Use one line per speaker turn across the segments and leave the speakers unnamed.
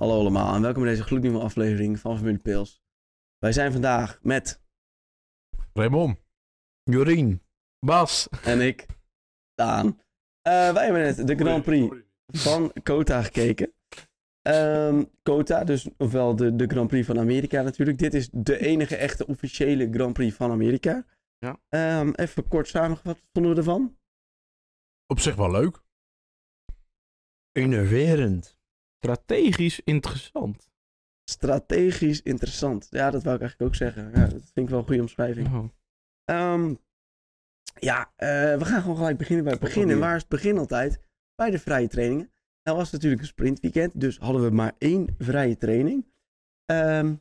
Hallo allemaal en welkom bij deze gloednieuwe aflevering van Familie Pils. Wij zijn vandaag met
Raymond.
Jorien.
Bas.
en ik, Daan. Eh, wij hebben net de Grand Prix van Kota gekeken. Ehm, Kota, dus ofwel de, de Grand Prix van Amerika natuurlijk. Dit is de enige echte officiële Grand Prix van Amerika.
Ja.
Ehm, even kort samengevat, wat vonden we ervan?
Op zich wel leuk.
Innoverend.
Strategisch interessant.
Strategisch interessant. Ja, dat wou ik eigenlijk ook zeggen. Ja, dat vind ik wel een goede omschrijving.
Oh.
Ehm, ja, eh, we gaan gewoon gelijk beginnen bij het begin. En waar is het begin altijd? Bij de vrije trainingen. Nou was het natuurlijk een sprintweekend, dus hadden we maar één vrije training. Ehm,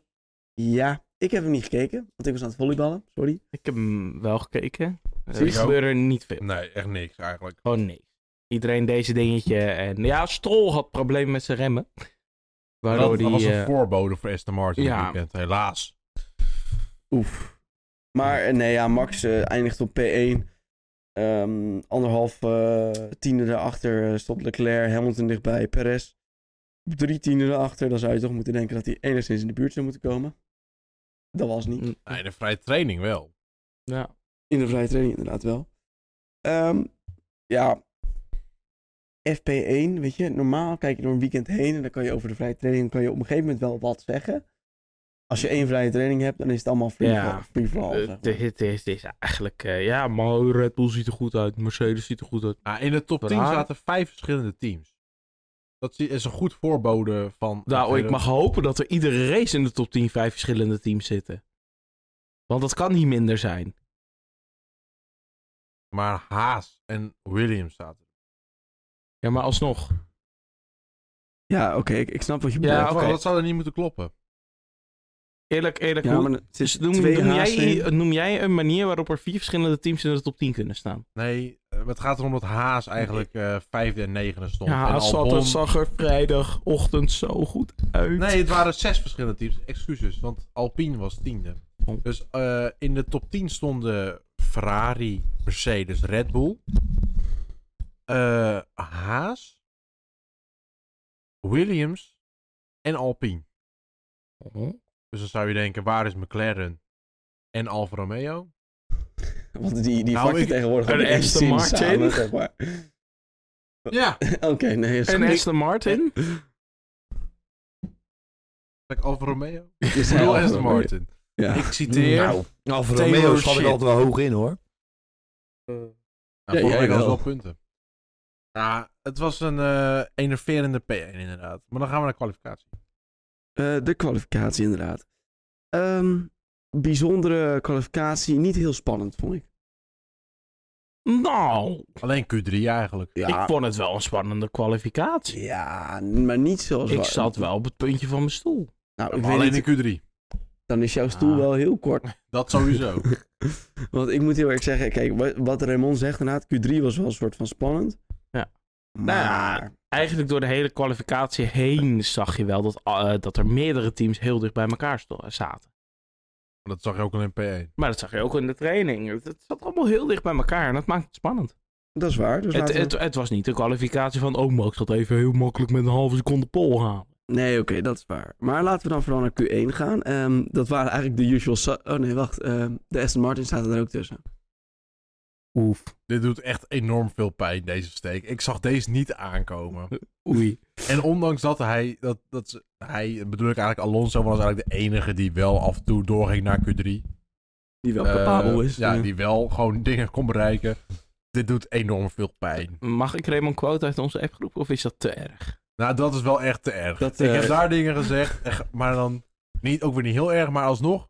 ja, ik heb hem niet gekeken, want ik was aan het volleyballen, sorry.
Ik heb hem wel gekeken. Eh,
Zie je?
Er gebeurde niet veel.
Nee, echt niks eigenlijk.
Oh nee. Iedereen deze dingetje. En ja, Stroll had problemen met zijn remmen. Waardoor
dat,
die,
dat was een
eh,
voorbode voor Aston Martin dit
ja.
weekend, helaas.
Oef. Maar eh, nee, ja, Max eh, eindigt op P1. Ehm, anderhalf eh, tiende erachter eh, stond Leclerc, Hamilton dichtbij, Perez. Drie tiende erachter, dan zou je toch moeten denken dat hij enigszins in de buurt zou moeten komen. Dat was niet.
mm,
Nee, de vrije training wel.
ja.
In de vrije training inderdaad wel. Ehm, ja. FP1, weet je, normaal kijk je door een weekend heen en dan kan je over de vrije training kan je op een gegeven moment wel wat zeggen. Als je één vrije training hebt, dan is het allemaal free fall.
Ja.
Free
Oh,
fall zeg
Eh,
maar.
dit dit is, dit is eigenlijk... eh, ja, maar Red Bull ziet er goed uit. Mercedes ziet er goed uit.
Nou, in de top 10
Ferrari.
zaten vijf verschillende teams. Dat is een goed voorbode van...
Nou, ik mag hopen dat er iedere race in de top 10 vijf verschillende teams zitten. Want dat kan niet minder zijn.
Maar Haas en Williams zaten.
Ja, maar alsnog.
Ja, oké, ik, ik snap wat je
Ja,
bedoelt.
dat,
oké.
dat zou er niet moeten kloppen.
Eerlijk, eerlijk.
Ja,
hoe-
maar er zitten
Dus noem,
twee
noem
Haas
jij,
in.
noem jij een manier waarop er vier verschillende teams in de top 10 kunnen staan?
Nee, eh, het gaat erom dat Haas eigenlijk eh, vijfde en negende stond.
Ja,
en Albon-
zag er vrijdagochtend zo goed uit.
Nee, het waren zes verschillende teams. Excuses, want Alpine was tiende.
Oh.
Dus eh, in de top 10 stonden Ferrari, Mercedes, Red Bull, eh, Haas, Williams en Alpine. Dus dan zou je denken, waar is McLaren en Alfa Romeo?
Want die, die
Nou,
vak je
ik-
tegenwoordig
een
ook echt
Aston
zin
Martin.
samen, zeg maar.
Ja,
Oké, nee, is
En
goed.
Aston Martin?
zeg ik Alfa Romeo?
Je
Ik
zei
bedoel
al,
Aston
hoor.
Martin.
Ja.
Ik citeer...
Nou, Alfa
Taylor
Romeo schat ik
shit.
altijd wel hoog in hoor.
Nou,
Ja,
vorige
jij
week hadden ze
wel.
wel punten. Ja, het was een eh enerverende P1 inderdaad. Maar dan gaan we naar kwalificatie.
Eh, de kwalificatie, inderdaad. Ehm, bijzondere kwalificatie, niet heel spannend, vond ik.
Nou,
Alleen Q3 eigenlijk.
ik vond het wel een spannende kwalificatie.
ja maar niet zoals...
Ik
wa-
zat wel op het puntje van mijn stoel.
Nou, ik
Maar
weet
alleen
niet,
in Q3.
dan is jouw stoel
Ah.
wel heel kort.
Dat sowieso.
Want ik moet heel erg zeggen, kijk, wa- wat Raymond zegt inderdaad, Q3 was wel een soort van spannend.
Ja. Nou
Maar...
Eigenlijk door de hele kwalificatie heen zag je wel dat, eh, dat er meerdere teams heel dicht bij elkaar sto- zaten.
dat zag je ook al in P1.
Maar dat zag je ook in de training. Het, het zat allemaal heel dicht bij elkaar en dat maakt het spannend.
dat is waar. Dus
Het,
laten we-
het, het was niet de kwalificatie van, oh, maar ik zat even heel makkelijk met een halve seconde pol halen.
Nee, oké, dat is waar. Maar laten we dan vooral naar Q1 gaan. Ehm, dat waren eigenlijk de usual... su- Oh nee, wacht. ehm, de Aston Martin staat er ook tussen.
Oef.
Dit doet echt enorm veel pijn, deze steek. Ik zag deze niet aankomen.
Oei.
En ondanks dat hij, dat, dat ze- hij, bedoel ik eigenlijk Alonso, was eigenlijk de enige die wel af en toe doorging naar Q3.
Die wel
Eh,
capabel is.
Ja,
Eh,
die wel gewoon dingen kon bereiken. Dit doet enorm veel pijn.
Mag ik Raymond quote uit onze appgroep of is dat te erg?
Nou, dat is wel echt te erg.
Dat,
ik
eh,
heb daar dingen gezegd, echt, maar dan niet, ook weer niet heel erg, maar alsnog.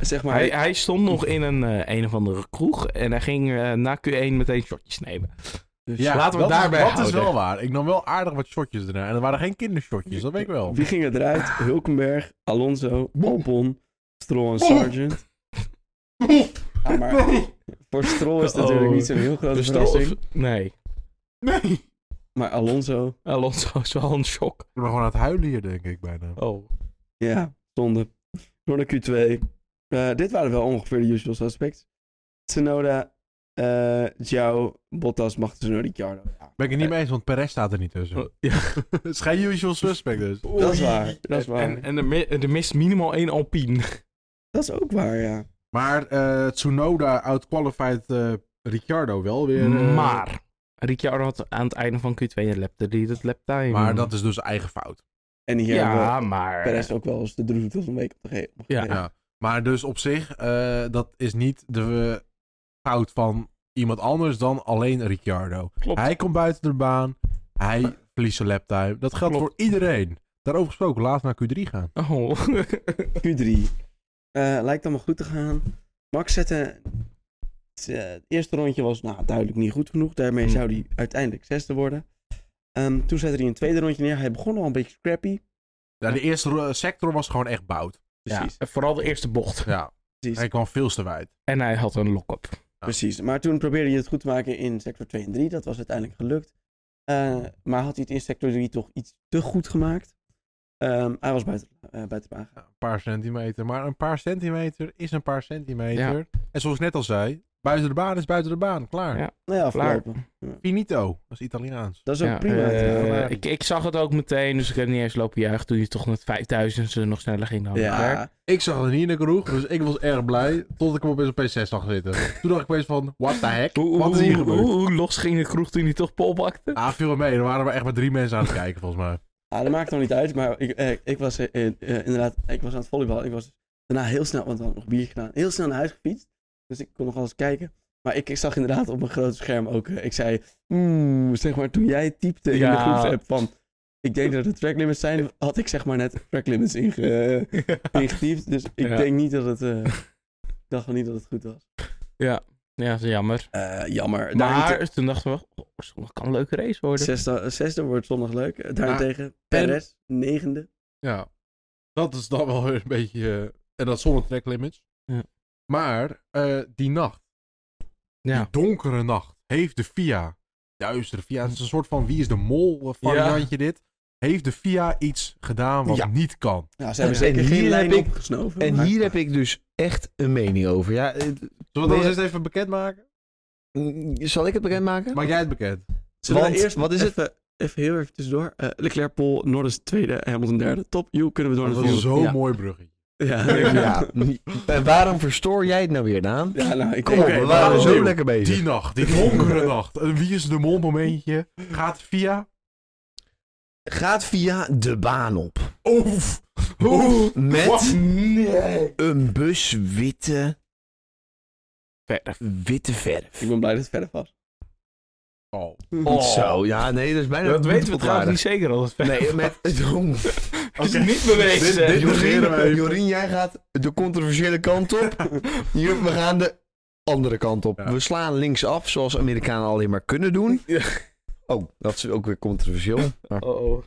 Zeg maar...
Hij, hij stond nog in een, eh, een of andere kroeg en hij ging eh, na Q1 meteen shotjes nemen. Dus
Ja,
laten we
dat
het daarbij
is, Dat is
houden.
wel waar. Ik nam wel aardig wat shotjes erna. En er waren geen kindershotjes, Dus dat weet ik wel.
Wie ging eruit? Hulkenberg, Alonso, Albon, Stroll en Sargent. Ja, maar voor Stroll is het
Oh.
natuurlijk niet zo'n heel grote
Dus dat-
verrassing.
Nee,
Nee.
Maar Alonso,
Alonso is wel een shock.
Ik ben gewoon aan het huilen hier, denk ik, bijna.
Oh.
ja, zonde. Door naar Q2. Eh, dit waren wel ongeveer de usual suspects. Tsunoda, eh, eh Zhou, Bottas, Magnussen, Ricciardo. Ja.
Ben ik het niet mee eens, want Perez staat er niet tussen.
Oh, Ja,
Het is geen usual suspect dus.
Dat is waar, dat is waar.
En, en er, mi- er mist minimaal één Alpine.
Dat is ook waar, ja.
Maar eh, Tsunoda outqualified eh Ricciardo wel weer. eh,
Maar Ricciardo had aan het einde van Q2 een lap 3, dat lap time.
Maar dat is dus eigen fout.
En hier hebben
Ja,
we
maar...
Perez ook wel eens de droefde van een week op de gegeven
Ja.
Ja. Maar dus op zich, eh, dat is niet de eh, fout van iemand anders dan alleen Ricciardo.
Klopt.
Hij komt buiten de baan, hij verliest zijn laptime. Dat geldt
Klopt.
voor iedereen. Daarover gesproken, laat naar Q3 gaan.
Oh.
Q3. Eh, lijkt allemaal goed te gaan. Max zette... Het eh, het eerste rondje was nou, duidelijk niet goed genoeg. Daarmee
Hmm.
zou hij uiteindelijk zesde worden. Ehm, toen zette hij een tweede rondje neer. Hij begon al een beetje scrappy.
Ja, de eerste ro- sector was gewoon echt bout.
Precies,
Ja, vooral de eerste bocht.
Ja,
precies,
hij kwam veel te wijd.
En hij had een lock-up.
precies. Maar toen probeerde hij het goed te maken in sector 2 en 3. Dat was uiteindelijk gelukt. Eh, maar had hij het in sector 3 toch iets te goed gemaakt? Ehm, hij was buiten, eh buiten de baan.
Ja, een paar centimeter. Maar een paar centimeter is een paar centimeter. En zoals ik net al zei, buiten de baan is buiten de baan. Klaar.
Ja.
Nou ja,
Klaar.
afgelopen.
Finito. Dat is Italiaans.
Dat is ook
Ja,
prima.
eh,
trouwens.
ik, ik zag het ook meteen, dus ik heb niet eens lopen juichen toen je toch met 5000 ze nog sneller ging dan Leclerc.
ja,
Ik zag het niet in de kroeg, dus ik was erg blij. Tot ik hem opeens op P6 zag zitten. Toen dacht ik opeens van, what the heck?
Hoe-
Wat is hier
hoe-
gebeurd?
hoe- Hoe los ging de kroeg toen hij toch pol pakte?
Ah, viel wel mee. Er waren maar echt maar drie mensen aan het kijken, volgens mij.
Ah, dat maakt nog niet uit, maar ik, eh, ik was eh, eh, inderdaad, ik was aan het volleybal. Ik was daarna heel snel, want we hadden nog bier gedaan, heel snel naar huis gefietst. Dus ik kon nog alles kijken. Maar ik, ik zag inderdaad op mijn grote scherm ook, eh, ik zei, "Oeh," zeg maar, toen jij typte in de
Ja.
groepsapp van, ik denk dat het track limits zijn, had ik zeg maar net track limits inge, ingetypt. Dus ik
Ja.
denk niet dat het, eh, ik dacht wel niet dat het goed was.
Ja, dat is jammer.
Eh, jammer. Daarentegen-
Maar toen dachten we, oh, zondag kan een leuke race worden.
zesde, zesde wordt zondag leuk. Eh, Daarentegen,
en-
Perez, negende.
Ja. Dat is dan wel weer een beetje... eh, en dat zonder track limits.
Ja.
Maar eh, die nacht,
Ja.
die donkere nacht, heeft de FIA... Duistere FIA. Het is een soort van wie is de mol eh, variantje dit. Heeft de FIA iets gedaan wat
Ja.
niet kan?
Nou, ze hebben
En
zeker geen
hier
lijn
heb ik-
opgesnoven.
En
maar-
hier heb ik dus echt een mening over. Ja, het-
Zullen we dat
Nee,
eens even bekendmaken?
mm, zal ik het bekendmaken?
Maak jij het bekend?
Zullen we
Want,
eerst
wat is het?
Even, even heel even tussendoor. Eh, Leclerc, Pol, Norris tweede, Hamilton derde. Top, joe, kunnen we door
Dat
naar
was
de
een
volgende.
zo
Ja.
mooi bruggetje.
Ja,
Ja. mm,
ja.
En waarom verstoor jij het nou weer, Daan?
ja, nou, ik
Kom
denk-
op, we
maar
waren zo
opnieuw.
lekker bezig.
Die nacht, die donkere nacht. Een wie is de mol momentje. Gaat via...
Gaat via de baan op.
Oef!
Met
Nee!
een bus witte,
Verder.
witte verf.
Ik ben blij dat het verder was.
Oh.
Oh.
Zo, ja, nee, dat is bijna...
Dat weten we trouwens niet
boetverklaring.
zeker al. Dat
Nee, met... Jong,
is niet bewezen.
eh,
Dit- dit- negeren we
Jorien,
even.
Jorien, jij gaat de controversiële kant op. Hier, we gaan de andere kant op.
Ja.
We slaan linksaf, zoals Amerikanen alleen maar kunnen doen. Oh, dat is ook weer controversieel. Maar...
Oh.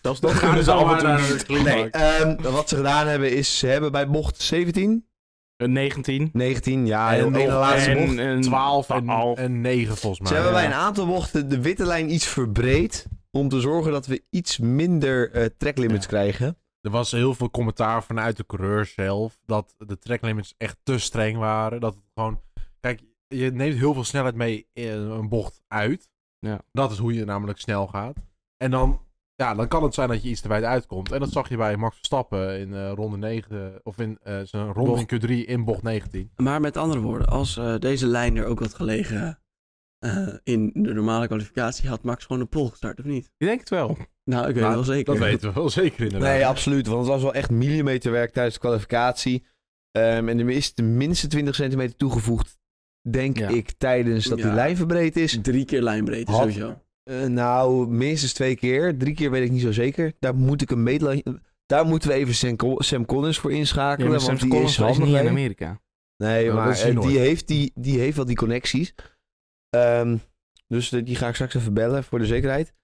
Dat is
Dan gaan
dus
ze
af
allemaal
en
naar
toe
de
niet.
Nee, ehm, wat ze gedaan hebben is, ze hebben bij bocht 17,
Een 19.
19, ja, heel
nog
ene laatste
en
bocht.
een
12 en,
half.
en 9 volgens mij.
Ze hebben
ja.
bij een aantal bochten de witte lijn iets verbreed. Om te zorgen dat we iets minder eh track limits
Ja.
krijgen.
Er was heel veel commentaar vanuit de coureur zelf. Dat de tracklimits echt te streng waren. Dat het gewoon. Kijk, je neemt heel veel snelheid mee in een bocht uit.
Ja.
Dat is hoe je namelijk snel gaat. En dan, ja, dan kan het zijn dat je iets te wijd uitkomt. En dat zag je bij Max Verstappen in eh, ronde 9. Of in eh, zijn ronde
Bocht.
in Q3 in bocht 19.
Maar met andere woorden, als eh, deze lijn er ook had gelegen eh, in de normale kwalificatie, had Max gewoon de pol gestart, of niet?
Ik denk het wel.
Nou, ik weet
Nou,
het wel zeker.
Dat weten we wel zeker inderdaad.
Nee, absoluut. Want het was wel echt millimeterwerk tijdens de kwalificatie. Ehm, en er is tenminste 20 centimeter toegevoegd. Denk
Ja.
ik tijdens dat die
Ja.
lijn verbreed is.
Drie keer lijnbreedte
Had-
sowieso.
Eh, nou, minstens twee keer. Drie keer weet ik niet zo zeker. Daar moet ik een meetlijn. Daar moeten we even Sam, Col- Sam Collins voor inschakelen.
maar
want
Sam
die
Collins
is
was
handig.
niet
hè?
in Amerika.
Nee,
Ja, dat
maar
is hij
eh,
nooit.
die, heeft die, die heeft wel die connecties. Ehm, dus de- die ga ik straks even bellen voor de zekerheid.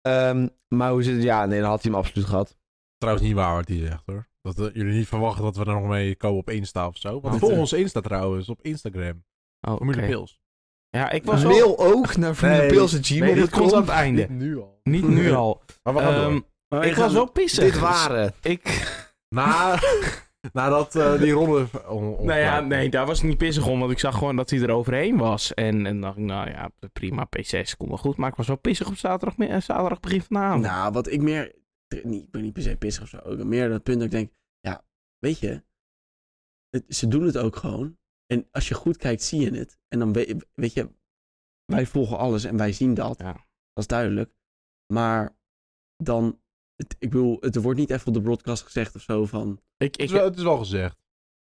Ehm, maar hoe zit het? Ja, nee, dan had hij hem absoluut gehad.
Trouwens niet waar wat hij zegt hoor. Dat eh, jullie niet verwachten dat we daar nog mee komen op Insta of zo. Want
Oh.
volg ons Insta trouwens op Instagram.
Oh,
Formule
oké.
Pils.
Ja, ik was
Mail
al...
ook naar vriendenpils.gmail.com.
Nee, dit komt aan het einde.
Niet nu al.
Niet nu al.
Maar we gaan
Ehm,
door.
Maar wij
ik
gaan-
was wel pissig.
Dit waren
Ik...
Na Nadat eh, die ronde... on- on-
Nou ja, nee, daar was ik niet pissig om, want ik zag gewoon dat hij er overheen was. En, en dacht ik, nou ja, prima, P6, komt wel goed. Maar ik was wel pissig op zaterdag, eh, zaterdag begin van de avond.
Nou, wat ik meer... niet- Ik ben niet per se pissig of zo. Ik ben meer dat punt dat ik denk... Ja, weet je... het- ze doen het ook gewoon. En als je goed kijkt, zie je het. En dan weet, weet je... Wij volgen alles en wij zien dat.
Ja.
Dat is duidelijk. Maar dan... Het, ik bedoel, het wordt niet even op de broadcast gezegd of zo van...
ik,
Het
ik,
is, wel, het is wel gezegd.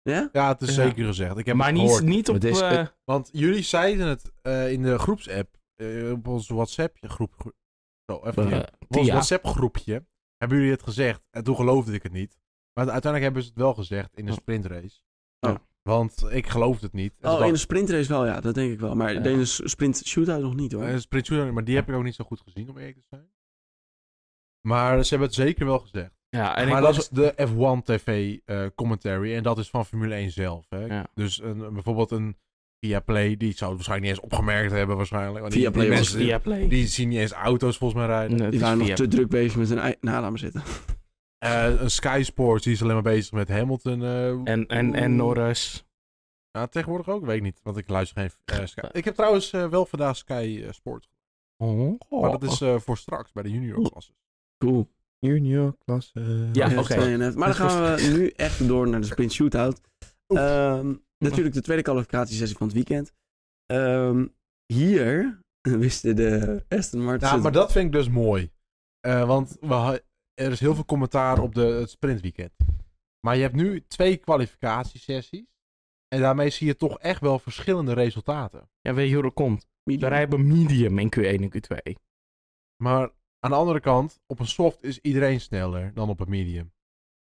Ja?
Ja, het is
Ja.
zeker gezegd. Ik heb
maar
het
niet,
gehoord.
niet op...
Het is-
eh,
Want jullie zeiden het eh, in de groepsapp, eh, op onze WhatsApp-groep. gro- Zo, even
eh,
hier. Op ons
Tia.
WhatsApp-groepje hebben jullie het gezegd. En toen geloofde ik het niet. Maar uiteindelijk hebben ze het wel gezegd in de sprintrace.
Oh.
Want ik geloofde het niet. En toen
Oh, in een
dacht
sprintrace wel, ja. Dat denk ik wel. Maar
Ja.
in een s- sprint shootout nog niet, hoor.
ik, eh, sprint shootout, maar die heb ik ook niet zo goed gezien, om eerlijk te zijn. Maar ze hebben het zeker wel gezegd.
ja, en
maar
ik
dat
was,
is de F1 TV eh, commentary. En dat is van Formule 1 zelf. Hè?
Ja.
Dus een, bijvoorbeeld een Via Play, die zou het waarschijnlijk niet eens opgemerkt hebben. Waarschijnlijk. Want die-
Viaplay
die
was
mensen-
via Play.
Die zien niet eens auto's volgens mij rijden.
Nee, het
Die
is
waren nog
via-
te druk bezig met hun... ei- Nou, laat maar zitten.
Eh, een Sky Sports, die is alleen maar bezig met Hamilton. eh,
En, en, en Norris.
ja, tegenwoordig ook, weet ik niet. Want ik luister geen eh, Sky. Ik heb trouwens eh, wel vandaag Sky eh, Sport.
Oh,
Maar dat is eh, voor straks, bij de junior klassen.
Cool.
Junior klasse.
Ja,
Ja,
oké.
twee en een half. Maar dan gaan we nu echt door naar de sprint shootout.
Oef.
Ehm, natuurlijk de tweede kwalificatiesessie van het weekend. Ehm, hier wisten de Aston Martin.
Ja, maar dat vind ik dus mooi. Eh, want we ha- er is heel veel commentaar op de, het sprintweekend. Maar je hebt nu twee kwalificatiesessies. En daarmee zie je toch echt wel verschillende resultaten.
Ja, weet je hoe dat komt? We
medium.
rijden medium in Q1 en Q2.
Maar aan de andere kant, op een soft is iedereen sneller dan op een medium.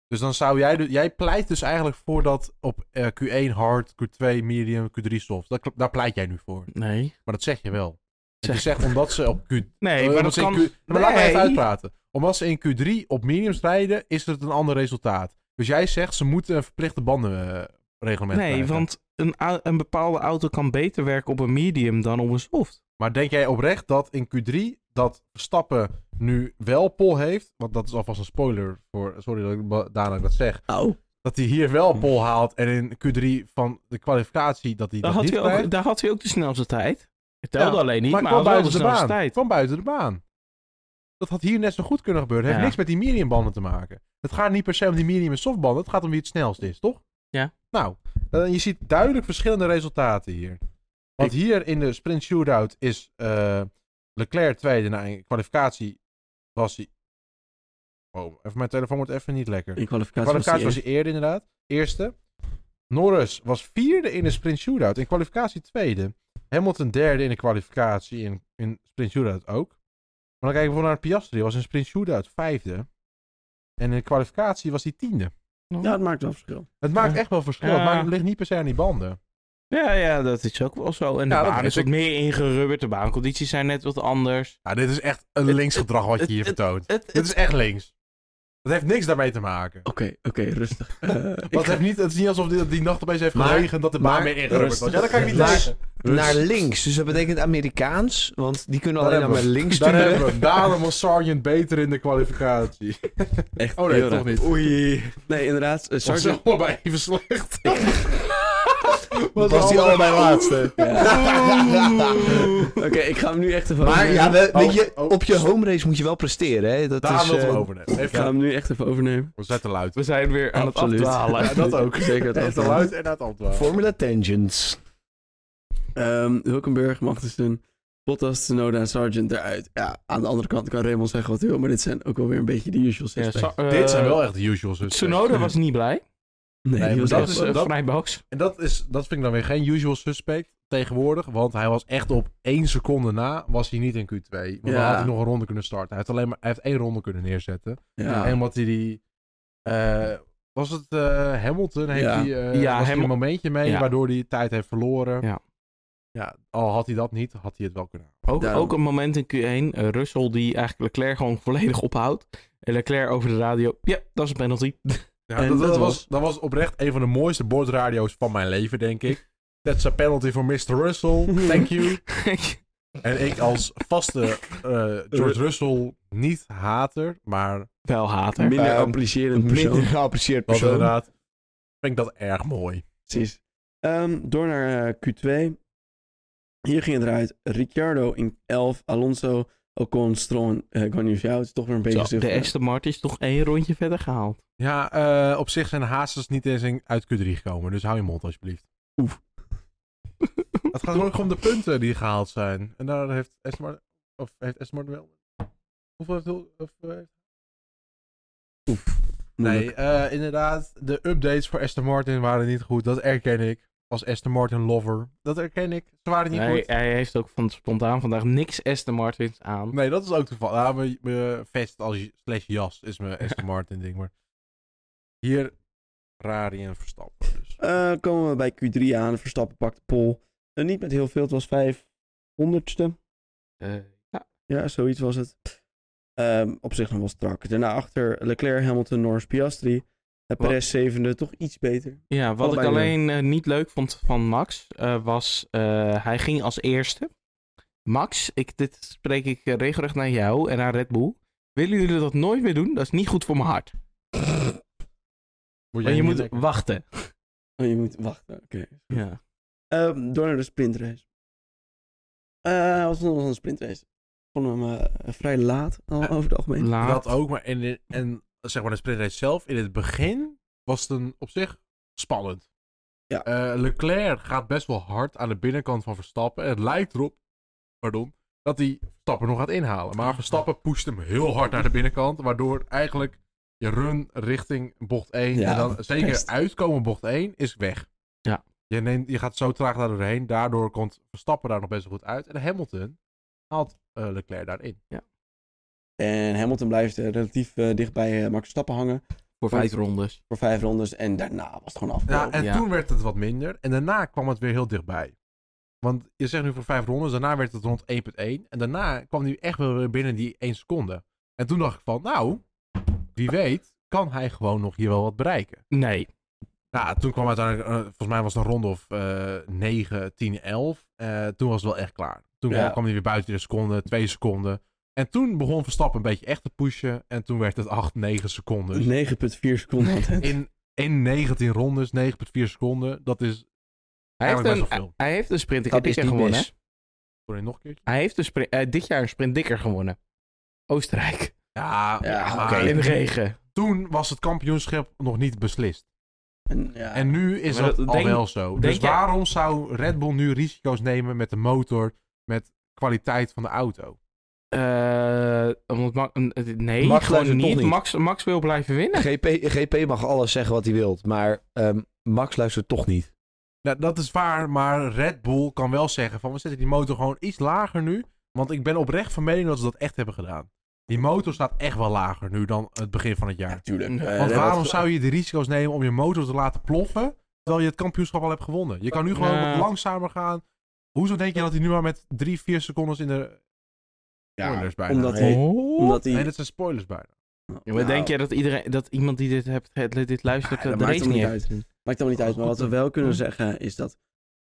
Dus dan zou jij, du- jij pleit dus eigenlijk voor dat op eh, Q1 hard, Q2 medium, Q3 soft. Dat, kl- daar pleit jij nu voor.
Nee.
Maar dat zeg je wel.
Zeg-
Je zegt omdat ze op Q...
Nee,
eh,
maar
omdat
dat
ze in
kan...
Q- Maar laat me even
Nee.
uitpraten. Omdat ze in Q3 op mediums rijden, is het een ander resultaat. Dus jij zegt ze moeten een verplichte bandenreglement
Nee, want een, au- een bepaalde auto kan beter werken op een medium dan op een soft.
Maar denk jij oprecht dat in Q3 dat Stappen nu wel pol heeft? Want dat is alvast een spoiler voor. Sorry dat ik ba- daarna dat zeg.
Oh,
Au.
Dat hij hier
Hm.
wel pol haalt en in Q3 van de kwalificatie dat hij
Daar
dat
had
niet
hij,
krijgt.
ook, daar had hij ook de snelste tijd. Het telde
Ja,
alleen niet,
maar
maar,
kwam
hij had wel de
buiten de
snelste
baan.
tijd.
Kwam buiten de baan. Dat had hier net zo goed kunnen gebeuren. Het heeft
Ja.
niks met die mediumbanden te maken. Het gaat niet per se om die medium en softbanden. Het gaat om wie het snelst is, toch?
Ja.
Nou, dan, je ziet duidelijk verschillende resultaten hier. Want hier in de sprint shootout is eh, Leclerc tweede na een kwalificatie was hij... Oh, even mijn telefoon wordt even niet lekker.
In kwalificatie,
Kwalificatie was
was die
hij eerder inderdaad. Eerste. Norris was vierde in de sprint shootout. In kwalificatie tweede. Hamilton derde in de kwalificatie. In, in sprint shootout ook. Maar dan kijken we bijvoorbeeld naar Piastri. Was in sprint shootout vijfde. En in de kwalificatie was hij tiende.
eerst. Ja, het maakt wel verschil.
Het maakt echt wel verschil.
Ja.
Het, maakt, het ligt niet per se aan die banden.
Ja, ja, dat is ook wel zo. En de
Ja, dat
baan
weet
is
ik.
wat meer ingerubberd. De baancondities zijn net wat anders. Dus
Ja, dit is echt een
Het-
linksgedrag wat
het-
je hier
het-
vertoont.
Het,
Dit is echt links. Dat heeft niks daarmee te maken.
Oké, oké, rustig. Eh, ik
Dat
ga-
heeft niet, het is niet alsof die, die nacht opeens heeft
Maar-
gelegen en dat de baan
maar-
weer ingerubbeld
rustig.
was. Ja, dat kan ik niet
Maar-
lezen.
Naar links, dus dat betekent Amerikaans, want die kunnen
Daar
alleen maar
hebben we.
links
Daar
sturen.
hebben we hem. Daarom was Sargent beter in de kwalificatie.
Echt
Oh nee,
heel
toch
raar.
niet.
Oei. Nee, inderdaad. eh,
Was
Sargent.
allebei even slecht.
Was die allebei laatste?
Oké, ik ga hem nu echt even
Maar ja,
overnemen.
we- weet
Oh,
je,
oh.
op je home race moet je wel presteren, hè? Dat
Daar
is,
wil dus, ik
eh,
hem overnemen.
Ik ga
Even
hem nu echt even overnemen.
We zijn te luid.
We zijn weer aan
Absoluut.
het afdwalen.
Ja, dat ook.
Zeker het
Echt te
afdwalen.
luid en uit antwoord.
Formula Tangents.
Ehm Hulkenberg, Magnussen, Bottas, Tsunoda en Sargent eruit. Ja, aan de andere kant kan Raymond zeggen wat hij wil, maar dit zijn ook wel weer een beetje de usual
Ja,
suspects.
Sa- eh,
Dit zijn wel echt de usual suspects.
Tsunoda was niet blij.
nee,
nee,
die was
maar
echt- eh,
Dat is een
dat-
vrij box.
En dat, is, dat vind ik dan weer geen usual suspect tegenwoordig. Want hij was echt op één seconde na, was hij niet in Q2. Want dan
Ja.
had hij nog een ronde kunnen starten. Hij heeft, alleen maar, hij heeft één ronde kunnen neerzetten.
ja.
En wat hij die... eh, was het eh, Hamilton? Heeft
Ja.
hij, eh,
Ja,
was hij
Hamil-
een momentje mee
Ja.
waardoor hij tijd heeft verloren?
Ja.
Ja, al had hij dat niet, had hij het wel kunnen halen.
Ook,
Daarom.
ook een moment in Q1. eh, Russell die eigenlijk Leclerc gewoon volledig ophoudt. En Leclerc over de radio. Ja, dat is een penalty.
Ja,
En
dat, dat
dat
was,
was-
dat was oprecht een van de mooiste boordradio's van mijn leven, denk ik. That's a penalty for Mr. Russell. Thank you. en ik als vaste eh, George Russell niet hater, maar
Wel hater.
minder
Ehm,
appreciërend
Een
persoon.
minder geapprecieerd
was
persoon.
inderdaad vind ik dat erg mooi.
Precies. Ehm, door naar eh, Q2. Hier ging het eruit. Ricciardo in 11. Alonso, Ocon, Stroll en uh, Het is toch weer een beetje...
Zo, de
zilver.
Aston Martin is toch één rondje verder gehaald.
Ja, eh, op zich zijn Haasers niet eens in- uit Q3 gekomen, dus hou je mond alsjeblieft.
Oef.
Het gaat ook om de punten die gehaald zijn. En daar heeft Aston Martin, of heeft Aston Martin wel... Hoeveel heeft... Hul- Of, eh,
Moeilijk.
nee, eh, inderdaad, de updates voor Aston Martin waren niet goed, dat erken ik. Als Aston Martin lover, dat erken ik. Ze waren niet
Hij,
goed.
hij heeft ook van spontaan vandaag niks Aston Martins aan.
Nee, dat is ook toevallig. Ja, mijn, mijn vest als j- slash jas is mijn Aston Martin ding, maar... Hier, Ferrari en Verstappen, dus...
Eh, komen we bij Q3 aan. Verstappen pakt de pol. Eh, niet met heel veel. Het was 500ste.
Eh, ja.
Ja, zoiets was het. Ehm, op zich nog wel strak. Daarna achter Leclerc, Hamilton, Norris, Piastri. En
Wat-
Perez zevende, toch iets beter.
Ja, wat ik
Allebei
alleen eh, niet leuk vond van Max eh, was, eh, hij ging als eerste. Max, ik, dit spreek ik eh, regelrecht naar jou en naar Red Bull. Willen jullie dat nooit meer doen? Dat is niet goed voor mijn hart.
Word
Maar
jij
je
niet
moet
lekker?
wachten.
Oh, je moet wachten. Oké.
Ja.
Ehm, door naar de sprintrace. Eh wat vond je van de sprintrace? Ik vond hem eh, vrij laat al over het algemeen.
Laat.
Dat ook, maar en en zeg maar de sprintrace zelf, in het begin was het een, op zich spannend.
Ja.
Eh, Leclerc gaat best wel hard aan de binnenkant van Verstappen. En het lijkt erop, pardon, dat hij Verstappen nog gaat inhalen. Maar Verstappen pusht hem heel hard naar de binnenkant, waardoor eigenlijk je run richting bocht 1
Ja,
en dan zeker
best.
uitkomen bocht 1 is weg.
Ja.
Je, neemt, je gaat zo traag daar doorheen, daardoor komt Verstappen daar nog best wel goed uit. En Hamilton haalt eh, Leclerc daarin.
En Hamilton blijft eh, relatief eh, dicht bij eh, Max Verstappen hangen
Voor vijf rondes.
voor vijf rondes. En daarna was het gewoon af.
Ja, en
Ja.
toen werd het wat minder. En daarna kwam het weer heel dichtbij. Want je zegt nu voor vijf rondes, daarna werd het rond 1.1. En daarna kwam hij echt wel weer binnen die één seconde. En toen dacht ik van, nou, wie weet, kan hij gewoon nog hier wel wat bereiken.
Nee.
Nou, toen kwam uiteindelijk, eh, volgens mij was het een ronde of eh 9, 10, 11. Eh, toen was het wel echt klaar. Toen
Ja.
kwam hij weer buiten de seconde, twee seconden. En toen begon Verstappen een beetje echt te pushen. En toen werd het 8, 9 seconden.
9,4 seconden. had het.
In, in 19 rondes, 9,4 seconden. Dat is
Hij heeft,
Eigenlijk
een,
best wel veel.
hij heeft een sprint dikker
Dat is
dikker
niet
gewonnen.
mis.
hè?
Sorry, nog een keertje?
Hij heeft een sprint, eh, dit jaar een sprint dikker gewonnen. Oostenrijk.
Ja,
Ja,
maar
oké.
In de regen.
toen was het kampioenschap nog niet beslist.
En, ja.
En nu is
Maar
dat,
dat-
al
denk-
wel zo.
denk
Dus
jij-
waarom zou Red Bull nu risico's nemen met de motor, met kwaliteit van de auto?
Eh, omdat Ma- eh, nee,
Max
gewoon
luistert toch
niet.
niet.
Max, Max wil blijven winnen.
GP, GP mag alles zeggen wat hij wilt, maar ehm, Max luistert toch niet.
Nou, dat is waar, maar Red Bull kan wel zeggen van we zetten die motor gewoon iets lager nu. Want ik ben oprecht van mening dat ze dat echt hebben gedaan. Die motor staat echt wel lager nu dan het begin van het
Ja,
jaar.
tuurlijk.
Want
Eh,
Want
dat-
waarom zou je de risico's nemen om je motor te laten ploffen, terwijl je het kampioenschap al hebt gewonnen? Je kan nu gewoon
Nou.
wat langzamer gaan. Hoezo denk je dat hij nu maar met drie, vier secondes in de...
Ja,
spoilers bijna.
omdat hij... Omdat hij
Nee, dat zijn spoilers bijna.
Ja, maar denk jij dat, iedereen, dat iemand die dit, hebt, het- dit luistert
Ah,
Ja, dat
eh, de
maakt
race
hem
niet
niet
heeft gezien?
Maakt helemaal niet uit. Maar wat we wel kunnen zeggen is dat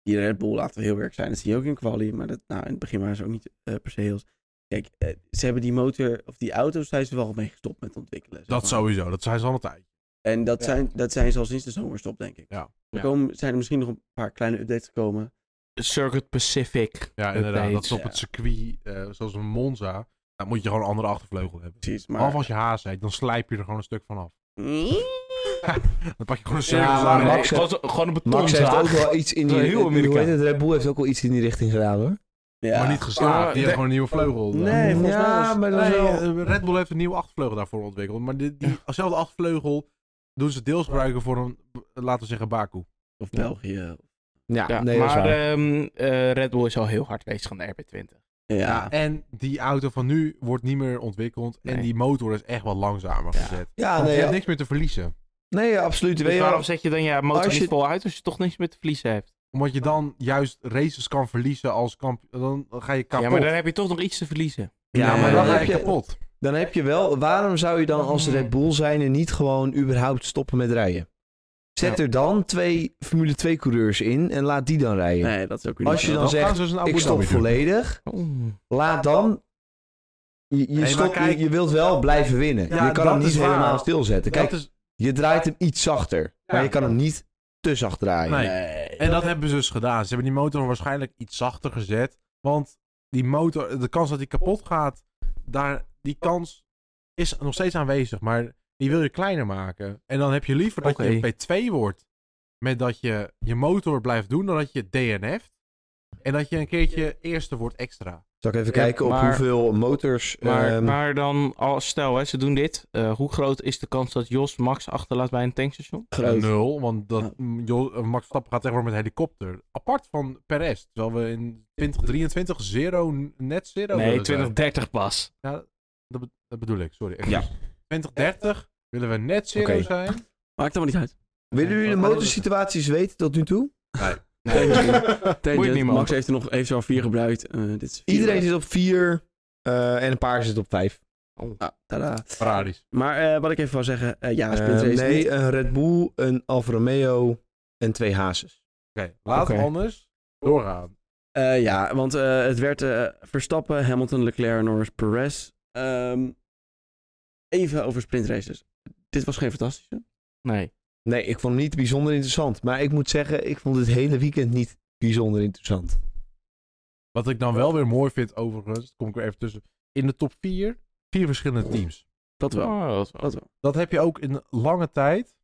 die Red Bull laten we heel werk zijn. Dat zie je ook in quali. Maar dat, nou, in het begin waren ze ook niet eh, per se heel... Kijk, eh, ze hebben die motor, of die auto's, zijn ze wel mee gestopt met ontwikkelen. zeg
Dat
maar.
sowieso, dat zijn ze al een tijd.
En dat,
Ja.
zijn, dat zijn ze al sinds de zomerstop, denk ik.
Ja.
Er
Ja.
komen, zijn er misschien nog een paar kleine updates gekomen.
Circuit Pacific.
Ja, inderdaad. Dat is op
Ja.
het circuit, eh, zoals een Monza, dan moet je gewoon een andere achtervleugel hebben.
Precies,
Maar...
maar...
Behalve als je haas heet, dan slijp je er gewoon een stuk van af. Dan pak je gewoon een cirkel
Ja, maar
aan.
Max
Nee,
heeft-
gewoon, gewoon op het
Max heeft ook wel iets in die...
Heel
hoe heet
Amerikaan.
het? Red Bull heeft ook wel iets in die richting gedaan hoor.
Ja.
Maar niet geslaagd,
Ja,
die heeft
de-
gewoon een nieuwe vleugel.
Nee, volgens mij
ja,
was-
maar dat is
Nee,
wel...
eh, Red Bull heeft een nieuwe achtervleugel daarvoor ontwikkeld. Maar die, die, dezelfde achtervleugel doen ze deels gebruiken voor een, laten we zeggen, Baku.
Of België.
Ja,
Ja,
nee, dat is
maar
waar.
ehm, eh, Red Bull is al heel hard bezig aan de RB20.
Ja.
En die auto van nu wordt niet meer ontwikkeld. En
Nee.
die motor is echt wat langzamer
Ja.
gezet.
ja, Ah,
Want je
nee,
hebt
ja,
niks meer te verliezen.
nee, absoluut. Weet
Dus
je
waarom
wel,
zet je dan je motor
als
niet
je-
vol uit als je toch niks meer te verliezen hebt?
Omdat je dan juist races kan verliezen als kamp. Dan ga je kapot.
Ja, maar dan heb je toch nog iets te verliezen.
Ja, maar
dan
dan
ga
heb
je
je-
kapot.
Dan heb je wel, waarom zou je dan als Red Bull zijn en niet gewoon überhaupt stoppen met rijden? Zet
Ja.
er dan twee Formule 2 coureurs in en laat die dan rijden.
Nee, dat is ook weer niet
Als je
zo.
dan
Dat
zegt,
gaan ze dus in Abu
ik stop
Dhabi doen.
volledig, laat dan... Je, je,
maar
stopt- je-
kijk-
je wilt wel blijven winnen.
Ja,
je kan
dat
hem niet
is waar.
helemaal stilzetten. Kijk,
Dat is,
je draait hem iets zachter, maar je kan hem niet te zacht draaien.
Nee.
Nee.
En dat hebben ze dus gedaan. Ze hebben die motor waarschijnlijk iets zachter gezet. Want die motor, de kans dat die kapot gaat, daar, die kans is nog steeds aanwezig. Maar die wil je kleiner maken. En dan heb je liever dat
Oké.
je P2 wordt. Met dat je je motor blijft doen, dan dat je DNF. En dat je een keertje eerste wordt extra.
Zal ik even
Ja,
kijken op
maar-
hoeveel motors...
Maar,
ehm,
maar dan, als, stel hè, ze doen dit. eh, hoe groot is de kans dat Jos Max achterlaat bij een tankstation?
Groot.
Nul, want dat, mm, joh, eh, Max Verstappen gaat tegenwoordig met helikopter. Apart van Perez. Terwijl we in 2023 zero, net zero
Nee,
willen zijn.
2030 pas.
Ja, dat, be- dat bedoel ik, sorry.
Ja.
2030 willen we net zero
Oké.
zijn.
Maakt helemaal niet uit.
willen jullie de motorsituaties weten tot nu toe?
Nee,
Tangent,
niet, man.
Max heeft er nog heeft er al vier gebruikt. Eh, dit is vier.
Iedereen zit op vier eh, en een paar zit op vijf.
Ah, tada.
Ferraris.
Maar eh, wat ik even wil zeggen, eh, ja, sprint
Eh,
race
nee,
niet.
een Red Bull, een Alfa Romeo en twee Hazes.
Oké, laten we
Oké.
anders doorgaan.
Eh, ja, want eh, het werd eh, Verstappen, Hamilton, Leclerc, Norris, Perez. Ehm, even over sprintraces. Dit was geen fantastische.
Nee.
Nee, ik vond hem niet bijzonder interessant. Maar ik moet zeggen, ik vond het hele weekend niet bijzonder interessant.
Wat ik dan wel weer mooi vind, overigens, dat kom ik er even tussen. In de top 4, vier verschillende teams.
Dat wel.
Oh, dat is wel-
Dat wel.
Dat heb je ook in lange tijd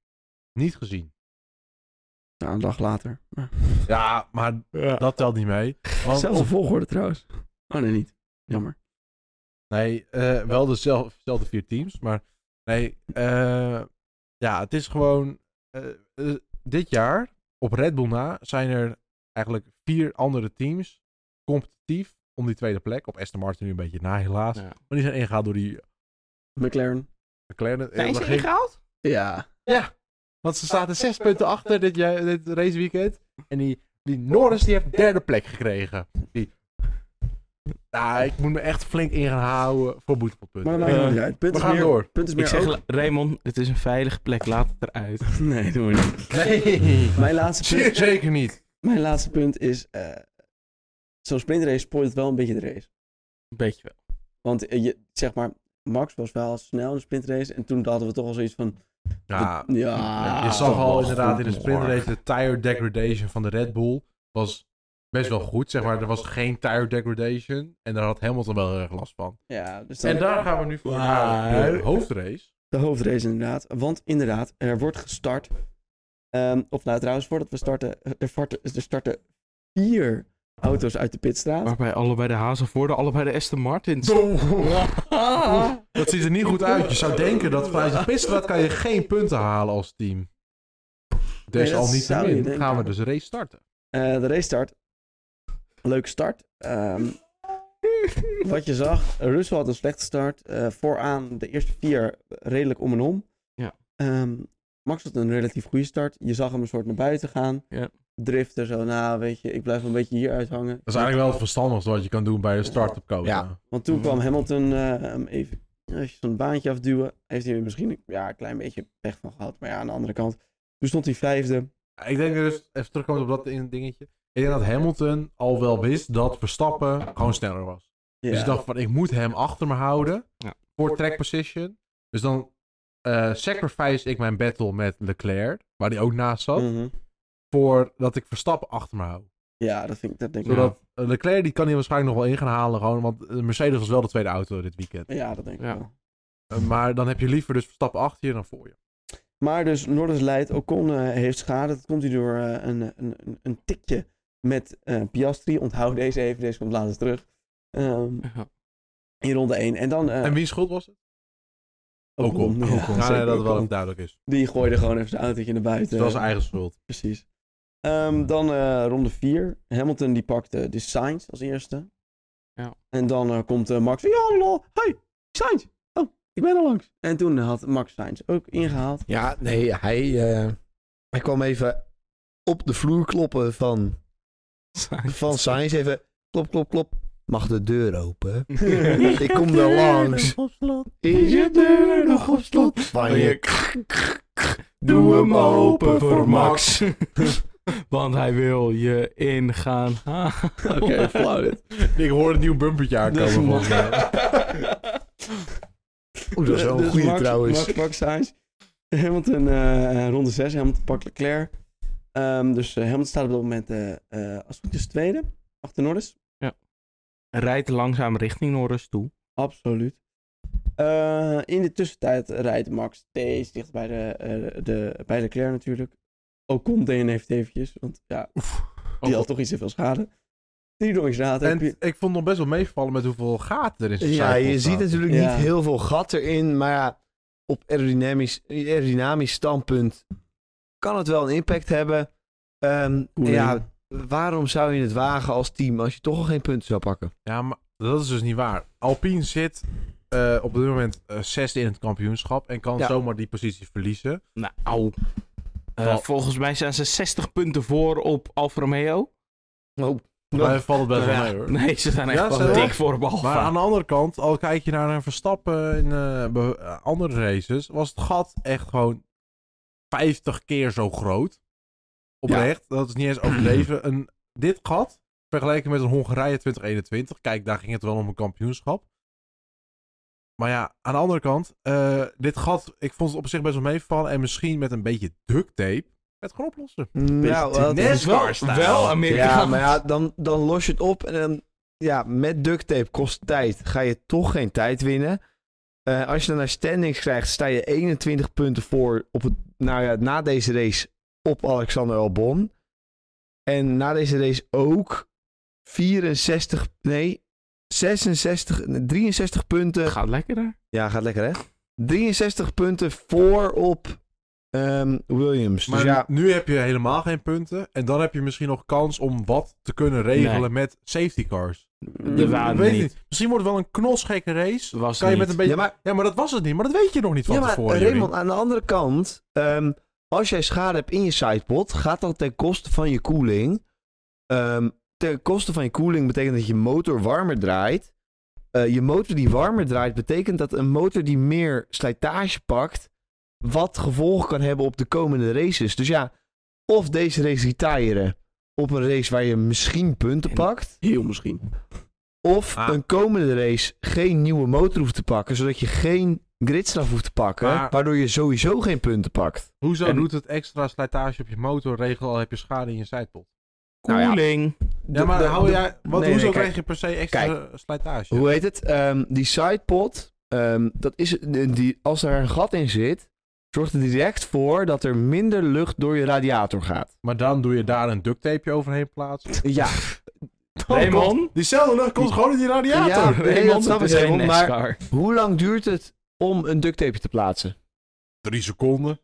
niet gezien.
Nou, een dag later. Maar...
Ja, maar dat telt niet mee. Want
Zelfde
of-
volgorde trouwens. Oh nee, niet. Jammer.
nee, eh, wel dezelfde dezelfde vier teams. Maar nee, eh, ja, het is gewoon. eh, eh, dit jaar, op Red Bull na, zijn er eigenlijk vier andere teams competitief om die tweede plek. Op Aston Martin nu een beetje na, helaas.
Ja.
Maar die zijn ingehaald door die
McLaren.
McLaren. Eh,
Zijn
we
ze
gingen-
ingehaald?
Ja.
Want ze
Ah,
zaten zes punten achter dit, jaar- dit raceweekend. En die, die Norris die heeft derde plek gekregen. Die... Nou, ik moet me echt flink in gaan houden voor boetepotpunten.
Maar dat maakt
Eh,
helemaal niet uit. Punt
we
is
gaan
meer,
door.
Punt is
Ik
meer
zeg,
ook-
La- Raymond, het is een veilige plek, laat het eruit.
Nee, doen we niet.
Nee,
Mijn laatste punt,
zeer zeker niet.
mijn laatste punt is... eh, Zo'n sprintrace spoilt wel een beetje de race.
Een beetje wel.
Want eh, je, zeg maar, Max was wel snel in de sprintrace. En toen hadden we toch al zoiets van...
Ja,
de- ja
Nou, je zag al
toch
inderdaad in de
goed,
sprintrace de tire degradation van de Red Bull was best wel goed. Zeg maar, er was geen tire degradation. En daar had Hamilton wel heel erg last van.
Ja, dus dan
En daar gaan we nu voor
Wauw.
naar de hoofdrace.
de hoofdrace inderdaad. Want inderdaad, er wordt gestart. ehm, of nou, trouwens, voordat we starten... Er, varten- er starten vier auto's uit de pitstraat.
Oh.
Waarbij allebei de hazen worden, allebei de Aston Martins.
Dat ziet er niet goed uit. Je zou denken dat vanuit de pitstraat kan je geen punten halen als team. Dus
Nee, dat zou je
Desalniettemin
denken.
gaan we dus race starten.
Eh, de race start. Leuke start. Ehm, wat je zag, Russell had een slechte start. Eh, vooraan de eerste vier redelijk om en om.
Ja.
Ehm, Max had een relatief goede start. Je zag hem een soort naar buiten gaan.
Ja.
Driften zo, nou weet je, ik blijf een beetje hier uithangen.
Dat is eigenlijk wel het verstandigste wat je kan doen bij de start-up code.
Ja.
Want toen
Mhm.
kwam Hamilton eh, hem even eventjes van het baantje afduwen. Heeft hij er misschien een- ja, een klein beetje pech van gehad. Maar ja, aan de andere kant. Toen stond hij vijfde.
Ik denk dus, even terugkomend op dat in- dingetje. Ik denk dat Hamilton al wel wist dat Verstappen gewoon sneller was.
Ja.
Dus ik dacht van, ik moet hem achter me houden
Ja.
voor track position. Dus dan eh, sacrifice ik mijn battle met Leclerc, waar die ook naast zat,
Mhm.
voor dat ik Verstappen achter me hou.
Ja, dat, vind ik, dat denk ik
Ja.
Zodat eh, Leclerc die kan hij waarschijnlijk nog wel in gaan halen. Gewoon, want eh, Mercedes was wel de tweede auto dit weekend.
wel. Ja, dat denk ik
Ja.
wel.
Eh, Maar dan heb je liever dus Verstappen achter je dan voor je.
Maar dus Norris leidt, Ocon eh, heeft schade. Dat komt hij door eh, een, een, een- een tikje met eh, Piastri. Onthoud deze even, deze komt later terug. Ehm,
Ja.
in ronde 1. En dan eh
En wie schuld was het?
Ocon. Ja,
Ocon. Ja,
zeker
nee, dat wel
Ocon.
even duidelijk is.
Die gooide gewoon even zijn autootje naar buiten.
Dus dat is eigen schuld.
Precies. Ehm, dan eh, ronde 4. Hamilton die pakt eh, de Sainz als eerste.
Ja.
En dan eh, komt eh, Max. Ja, lol. Hey, Sainz. Oh, ik ben al langs. En toen had Max Sainz ook ingehaald.
Ja, nee, hij, eh, hij kwam even op de vloer kloppen van, van Sainz. Even klop, klop, klop. Mag de deur open? Ik kom er langs. Is je deur nog op slot? Van je...
Doe hem open voor Max. Want hij wil je ingaan.
Oké, flauw dit.
Ik hoor een nieuw bumpertje
Dat
Dus
is
aankomen. volgens mij.
Oeh, dat is wel een
Dus
goeie
Max-
trouwens.
eh, Max pakt Sainz. Hamilton, eh ronde 6, Hamilton pakt Leclerc. Ehm, dus eh, Hamilton staat op dat moment, eh eh, als het goed is, tweede. Achter Norris.
Rijdt langzaam richting Norris toe.
Absoluut. Eh, in de tussentijd rijdt Max steeds dicht bij de, eh de, bij Leclerc natuurlijk. Ocon DNF heeft eventjes, want ja, die had toch iets te veel schade. Drie rondjes later heb
En
je...
ik vond het nog best wel meevallen met hoeveel gaten er in zijn
Ja,
zijkant
je ziet
zaten.
natuurlijk
Ja.
niet heel veel gat erin, maar ja, op aerodynamisch, aerodynamisch standpunt kan het wel een impact hebben. Ehm,
Koeling.
ja, waarom zou je het wagen als team als je toch al geen punten zou pakken?
Ja, maar dat is dus niet waar. Alpine zit eh, op dit moment eh, zesde in het kampioenschap en kan
Ja.
zomaar die positie verliezen.
Nou, au. Eh,
Wel-
volgens mij zijn ze 60 punten voor op Alfa Romeo.
Oh,
Maar hij valt het best wel
Ja.
mee hoor.
Nee, ze zijn echt
Ja,
wel
zo.
dik voor op
Maar
Alfa.
aan de andere kant, al kijk je naar een Verstappen in eh, be- eh, andere races, was het gat echt gewoon 50 keer zo groot. Oprecht, dat is niet eens overdreven. Een, dit gat, vergeleken met een Hongarije 2021, kijk, daar ging het wel om een kampioenschap. Maar ja, aan de andere kant, eh, dit gat, ik vond het op zich best wel meevallen. En misschien met een beetje duct tape het gewoon oplossen.
nou, dat-
net
is wel,
Star-style.
wel Amerikaans.
ja, maar ja, dan, dan los je het op en dan, ja, met duct tape kost tijd. Ga je toch geen tijd winnen. Eh, als je dan naar standings krijgt, sta je 21 punten voor op het, nou ja, na deze race op Alexander Albon. En na deze race ook 64, nee, 66, nee, 63 punten.
Gaat lekker daar.
Ja, gaat lekker hè? 63 punten voor op ehm, Williams.
Maar
dus ja,
nu heb je helemaal geen punten. En dan heb je misschien nog kans om wat te kunnen regelen
Nee.
met safety cars.
Er waren
weet
niet.
niet. Misschien wordt het wel een knosgekke race.
Was
Kan je met
niet.
een beetje...
Ja,
ja,
maar-
maar... dat was het niet. Maar dat weet je nog niet van
ja, maar
tevoren.
Raymond,
Jorien.
aan de andere kant, ehm, als jij schade hebt in je sidepod, gaat dat ten koste van je koeling. Ehm, ten koste van je koeling betekent dat je motor warmer draait. Eh, je motor die warmer draait, betekent dat een motor die meer slijtage pakt, wat gevolgen kan hebben op de komende races. Dus ja, of deze race retiren op een race waar je misschien punten
En-
pakt,
Heel misschien.
of
Ah.
een komende race geen nieuwe motor hoeft te pakken, zodat je geen gridstraf hoeft te pakken,
Maar-
waardoor je sowieso geen punten pakt.
Hoezo
en-
doet het extra slijtage op je motor regel al heb je schade in je sidepod?
Nou ja.
Koeling.
Ja, maar
De- de-
hou
de-
jij... Wat, hoezo
nee, nee, kijk.
krijg je per se extra slijtage?
Hoe heet het? Ehm, die sidepod, ehm, dat is, die, als er een gat in zit, zorgt er direct voor dat er minder lucht door je radiator gaat.
Maar dan doe je daar een duct tapeje overheen plaatsen.
Ja,
Raymond.
Diezelfde lucht komt gewoon in die radiator.
Ja, nee, dat
Raymond,
snap
het is
ik,
geen
Raymond, maar-
NASCAR.
hoe lang duurt het om een duct tape te plaatsen?
Drie seconden.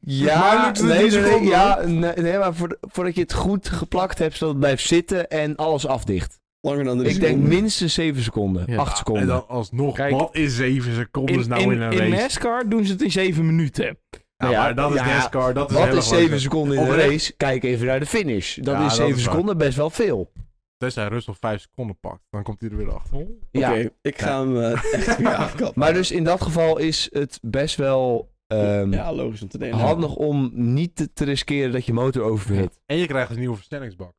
Ja,
lukt het in
nee,
drie
nee, nee,
seconden,
ja, nee, nee, maar voor- voordat je het goed geplakt hebt, zodat het blijft zitten en alles afdicht.
Langer dan de
Dus Ik denk minstens 7 seconden,
Ja.
8 seconden. Nou
En dan alsnog,
Kijk,
wat is zeven seconden
In,
nou
in,
in, een
in
race?
NASCAR doen ze het in 7 minuten.
Ja,
Nou ja,
maar dat is
ja,
NASCAR. Dat is
Wat
heel
is
erg
7
leuk.
seconden in de
Oprecht.
race? Kijk even naar de finish. Dat
Ja,
is
dat
7
is waar.
seconden best wel veel.
Tenzij Russell 5 seconden pakt, dan komt hij er weer achter.
Oké,
Ja.
ik ga hem eh, echt weer afkappen.
Maar dus in dat geval is het best wel ehm,
Ja, logisch om te denken.
handig om niet te, te riskeren dat je motor overhit.
En je krijgt een nieuwe versnellingsbak.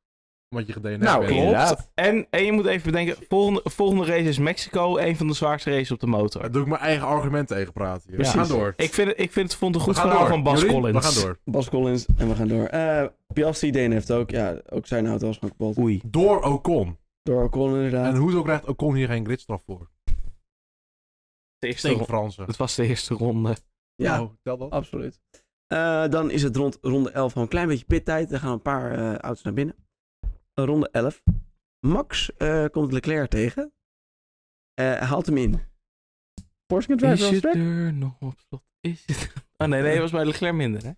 Omdat je gedNF
Nou,
bent.
klopt. Inderdaad.
En, en je moet even bedenken, volgende, volgende race is Mexico, een van de zwaarste races op de motor.
Daar doe ik mijn eigen argument tegen praten. Hier.
Ja.
We gaan door.
Ik vind het, ik vind het vond een
We
goed
gaan
verhaal
door.
van Bas
Jorien,
Collins.
We gaan door.
Bas Collins en we gaan door. Eh Piastri DNF heeft ook. Ja, ook zijn auto was gewoon kapot.
Oei.
Door Ocon.
Door Ocon inderdaad.
En hoezo krijgt Ocon hier geen gridstraf voor?
De eerste
Tegen
ronde.
Fransen.
Het was de eerste ronde.
Ja, Ah,
Nou, tel dat.
absoluut. Eh, dan is het rond ronde 11 gewoon een klein beetje pittijd. Er gaan een paar eh, auto's naar binnen. Eh, Ronde 11. Max eh, komt Leclerc tegen. Eh, haalt hem in. Porsche can drive
Is
on
je
track.
deur nog op slot? Is het... Oh nee, nee, het was bij Leclerc minder, hè?
Oh,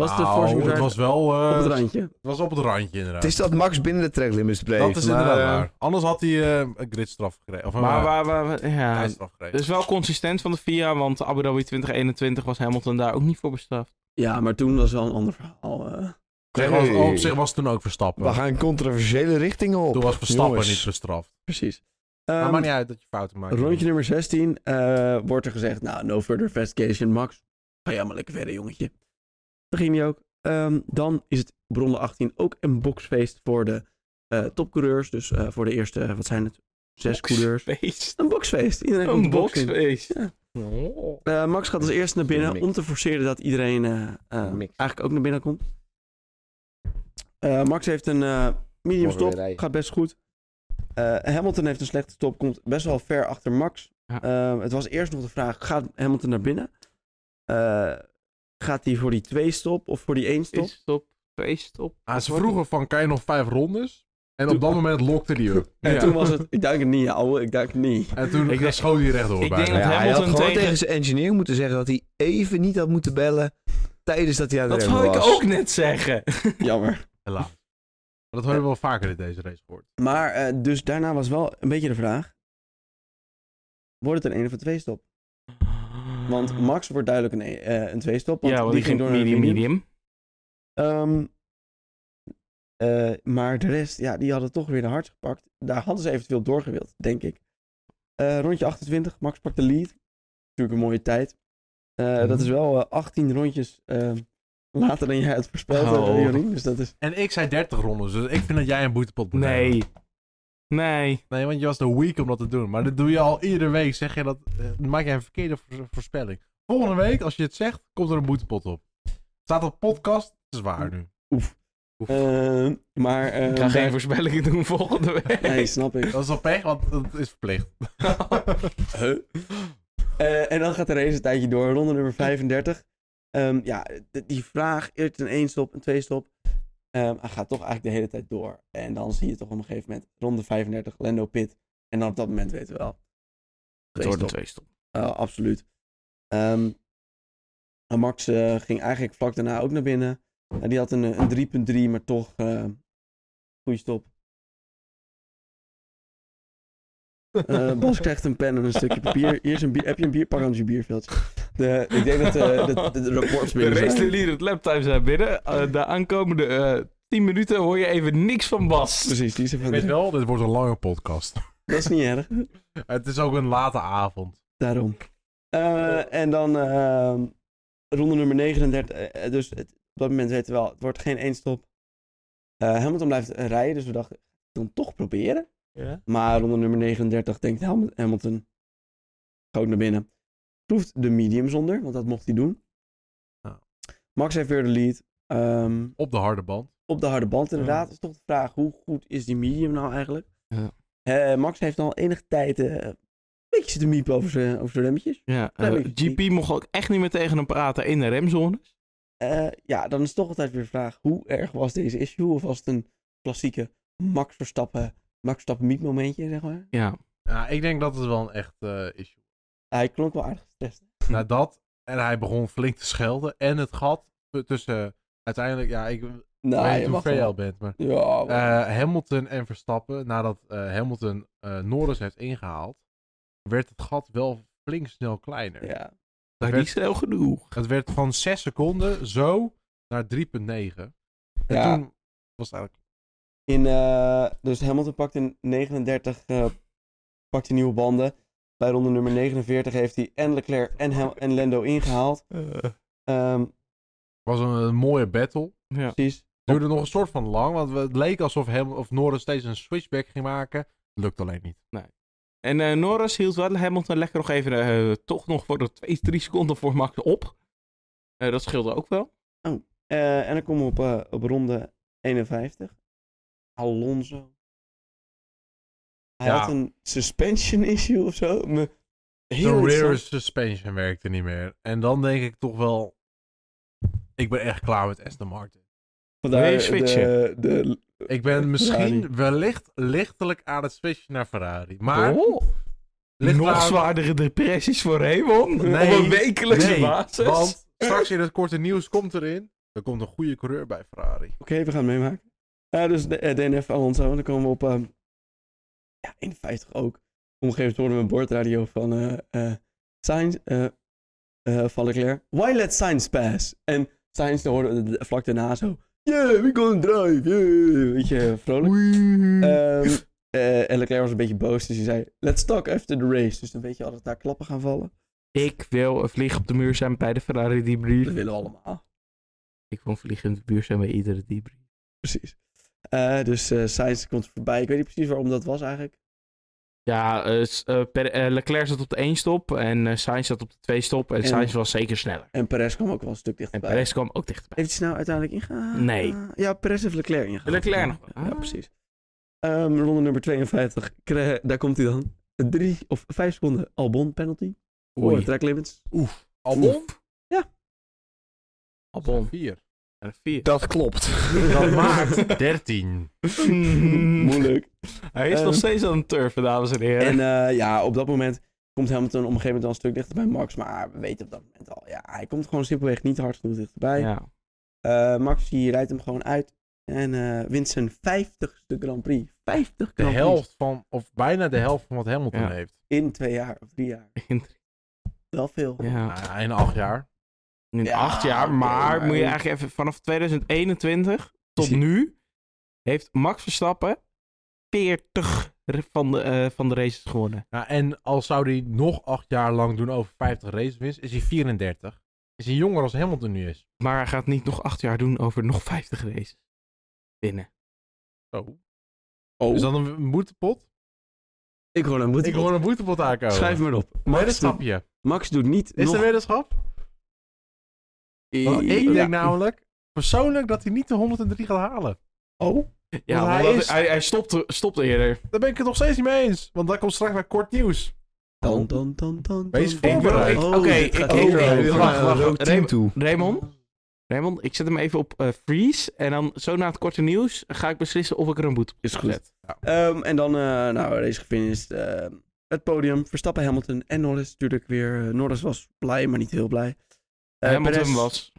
Was de
Nou,
Porsche can
het
drive
was wel eh,
op het randje.
het was op het randje inderdaad.
Het is dat Max binnen de tracklimits bleef.
dat is
maar,
inderdaad
eh,
waar. Anders had hij eh, een gridstraf gekregen. Of een
Maar
eh,
waar, waar, waar- ja,
tijdstraf
het
gekregen.
is wel consistent van de FIA, want Abu Dhabi 2021 was Hamilton daar ook niet voor bestraft.
Ja, maar toen was wel een ander verhaal. eh.
Zeg,
Nee.
was- op zich was het toen ook Verstappen.
We gaan controversiële richtingen op.
Toen was Verstappen
Jongens.
niet bestraft.
precies.
maar
Ehm,
maakt niet uit dat je fouten maakt.
Rondje nummer 16 eh, wordt er gezegd, nou, no further investigation, Max. Ga jij maar lekker verder, jongetje. Dat ging hij ook. Ehm, dan is het op ronde 18 ook een boxfeest voor de eh, topcoureurs. Dus eh, voor de eerste, wat zijn het, zes coureurs.
Feest.
Een boxfeest. Iedereen komt
Een
de box in.
boxfeest.
Ja.
Oh.
Eh, Max gaat als eerste naar binnen
Mik.
om te forceren dat iedereen eh, eh,
Mik.
eigenlijk ook naar binnen komt. Eh, Max heeft een eh,
Morgen
medium
weer
stop.
rijden.
Gaat best goed. Eh, Hamilton heeft een slechte stop. Komt best wel ver achter Max.
Ja.
Eh, het was eerst nog de vraag: gaat Hamilton naar binnen? Eh, gaat hij voor die twee stop of voor die één stop?
Is stop, twee stop.
Ah, ze vroegen van, kan je nog vijf rondes? En
Toen-
op dat moment lokte die up.
En
Ja.
toen was het: ik duik het niet, ouwe, ik duik het niet.
En toen
Ik denk-
schoot hij rechtdoor
ik
bijna.
denk-
Ja, hij had
Hamilton
gewoon tegen...
tegen-
zijn engineer moeten zeggen dat hij even niet had moeten bellen tijdens dat hij aan het
Dat
remmen
wou
was.
ik ook net zeggen.
Jammer.
Helaas. Maar dat hebben we wel vaker in deze race gehoord.
Maar eh, dus daarna was wel een beetje de vraag: wordt het een één of een twee stop? Want Max wordt duidelijk een, eh, een twee stop. Want
ja, want
die ging door naar de
medium,
medium.
medium.
Ehm, eh, maar de rest, ja, die hadden toch weer de hard gepakt. Daar hadden ze eventueel doorgewild, denk ik. Eh, rondje 28, Max pakt de lead. Natuurlijk een mooie tijd. Eh,
Mhm.
Dat is wel eh, 18 rondjes ehm, later dan jij het voorspeld had,
Oh.
Jorien. Dus dat is...
En ik zei 30 rondes, dus ik vind dat jij een boetepot moet hebben.
Nee. Nee.
Nee, want je was de week om dat te doen. Maar dat doe je al iedere week. Zeg je dat, eh, dan maak jij een verkeerde vo- voorspelling. Volgende week, als je het zegt, komt er een boetepot op. Staat op podcast, het is waar nu.
Oef.
Oef.
Ehm, maar... ehm,
Ik ga geen
daar-
voorspellingen doen volgende week.
Nee, snap ik.
Dat is al pech, want dat is verplicht.
Huh? Eh, en dan gaat de race een tijdje door. Ronde nummer 35. Ehm, ja, d- die vraag, eerst een 1 stop, een 2 stop. Ehm, hij gaat toch eigenlijk de hele tijd door. En dan zie je toch op een gegeven moment ronde 35, Lando Pit. En dan op dat moment weten we wel.
Het
Twee
wordt een
stop.
twee stop.
Eh, absoluut. Ehm, en Max eh, ging eigenlijk vlak daarna ook naar binnen. En die had een, eh, een 3.3, maar toch eh goede stop. Eh, Bas krijgt een pen en een stukje papier. Hier is een bier. Heb je een bier? Pak anders je bierveldje. De, ik denk dat eh, de, de, de rapports
De
binnen
race
zijn.
leader, het laptime zijn binnen. Eh, de aankomende eh 10 minuten hoor je even niks van Bas.
Precies, die is
Ik
even...
weet wel, dit wordt een lange podcast.
Dat is niet erg.
Het is ook een late avond.
Daarom. Eh, en dan ehm, ronde nummer 39. eh, eh, dus het- op dat moment weten we wel, het wordt geen één stop. Eh, Hamilton blijft eh, rijden, dus we dachten, dan toch proberen. Maar ronde nummer 39 denkt Ham- Hamilton, goot naar binnen. Proeft de medium zonder, want dat mocht hij doen.
Ja.
Max heeft weer de lead. Ehm,
Op de harde band.
op de harde band inderdaad.
Ja.
is toch de vraag, hoe goed is die medium nou eigenlijk?
Ja.
Eh, Max heeft al enige tijd eh, een beetje zitten miepen over zijn over zijn remmetjes.
Ja, eh,
Klein beetje.
GP mocht ook echt niet meer tegen hem praten in de remzones.
Eh, ja, dan is toch altijd weer de vraag: hoe erg was deze issue? Of was het een klassieke Max Verstappen, Max Verstappen miet momentje, zeg maar?
Ja.
Ja, ik denk dat het wel een echt eh, issue is.
Hij klonk wel aardig gestrest.
Na dat, en hij begon flink te schelden. En het gat tussen, uiteindelijk, ja, ik
Nou, je
weet niet hoe
mag
ver je
wel.
al bent, maar...
Ja, maar-
Eh, Hamilton en Verstappen, nadat eh, Hamilton eh, Norris heeft ingehaald, werd het gat wel flink snel kleiner.
ja.
Maar die
werd-
is snel genoeg.
Het werd van 6 seconden zo naar 3,9. En
Ja.
toen was het eigenlijk...
In, eh, dus Hamilton pakt in 39 eh, pakt hij nieuwe banden. Bij ronde nummer 49 heeft hij en Leclerc en, Ham- en Lando ingehaald. Ehm,
was een, een mooie battle.
ja.
precies.
Duurde nog een soort van lang, want het leek alsof hem, of Norris steeds een switchback ging maken. Lukt alleen niet.
En eh, Norris hield wel Hamilton lekker nog even, eh, toch nog voor de 2, 3 seconden voor Max op. Eh, dat scheelde ook wel.
Eh, en dan komen we op, eh, op ronde 51. Alonso. Hij
Ja.
had een suspension issue of zo. Me- Heel
De rear
interessant.
suspension werkte niet meer. En dan denk ik toch wel... Ik ben echt klaar met Aston Martin.
Vandaar
Wil je
de-
switchen?
de-
Ik
Eh,
ben misschien
Ferrari.
wellicht lichtelijk aan het switchen naar Ferrari. Maar
Oh,
ligt
nog
eraan-
zwaardere depressies voor Raymond.
Nee,
op een wekelijkse
nee,
basis.
Want straks in het korte nieuws komt erin. Er komt een goede coureur bij Ferrari.
Oké, we gaan het meemaken. Eh, dus de, eh, DNF Alonso. En dan komen we op ehm, ja, 51 ook. Op een gegeven moment hoorden we een bordradio van eh eh Sainz, eh, eh, van Leclerc. Why let Sainz pass? En Sainz dan hoorden we de- vlak daarna zo. Yeah, we gonna drive, yeah. Weet je, vrolijk. Ehm, eh, en Leclerc was een beetje boos, dus hij zei, let's talk after the race. Dus dan weet je al dat daar klappen gaan vallen.
Ik wil een vlieg op de muur zijn bij de Ferrari
Dat
debrief.
willen we allemaal.
Ik wil een vlieg in de muur zijn bij iedere debrief.
Precies. Eh, dus eh Sainz komt voorbij. Ik weet niet precies waarom dat was eigenlijk.
Ja, eh, s- eh, per- eh, Leclerc zat op de één stop en eh, Sainz zat op de twee stop. En,
En-
Sainz was zeker sneller.
En Perez kwam ook wel een stuk
En
dichterbij.
Perez kwam ook dichterbij.
Heeft hij snel uiteindelijk ingehaald?
Nee.
Ja, Perez heeft Leclerc ingehaald.
Leclerc nog.
Ja, precies. Ehm, ronde nummer 52. Kre- daar komt hij dan. Drie of vijf seconden Albon penalty. Voor
Oei.
track limits.
Albon?
Albon.
4.
En een vier.
Dat klopt.
Dat maakt 13.
Moeilijk.
Hij is
Ehm,
nog steeds aan het turven, dames en heren.
En eh, ja, op dat moment komt Hamilton op een gegeven moment wel een stuk dichter bij Max. Maar we weten op dat moment al, ja, hij komt gewoon simpelweg niet hard genoeg dichterbij.
ja.
Eh, Max die rijdt hem gewoon uit. En eh, wint zijn 50ste Grand Prix. 50 Grand Prix
De helft van, of bijna de helft van wat Hamilton
Ja.
heeft.
in twee jaar of drie jaar. Wel veel.
ja.
Ah, in acht jaar.
In
Ja,
acht jaar,
oké,
maar
maar-
moet je eigenlijk even vanaf 2021 tot
Is hij-
nu heeft Max Verstappen 40 van de, eh, van de races gewonnen.
Ja, Nou, en al zou hij nog acht jaar lang doen over 50 races winst, is hij 34. Is hij jonger als Hamilton nu is.
Maar hij gaat niet nog acht jaar doen over nog 50 races winnen.
Zo.
Oh,
Is dat een, een boetepot?
ik hoor hem moeten.
Ik hoor een boetepot aankomen.
Schrijf maar op. Max, doet,
Weddenschapje.
Max doet niet
Is
nog...
er weddenschap? Want ik denk namelijk persoonlijk dat hij niet de 103 gaat halen.
Oh?
Ja,
Want hij
want dat-
is-
hij, hij stopte, stopte eerder.
Daar ben ik het nog steeds niet mee eens. Want daar komt straks weer kort nieuws.
Dan, dan, dan, dan, dan,
Wees
dan.
voorbereid.
Ik- Oké,
Oh, dit
ik-
gaat
ik-
heel
ik-
erg
ik-
over.
Oh, wacht, wacht,
rood team
Raymond.
toe.
Raymond, Raymond, ik zet hem even op eh, freeze. En dan zo na het korte nieuws ga ik beslissen of ik er een boete op
Is goed.
zet.
Ehm, en dan, eh, nou, race gefinished. ehm, het podium, Verstappen, Hamilton en Norris natuurlijk weer. Eh, Norris was blij, maar niet heel blij. Eh,
Hamilton
Perez-
was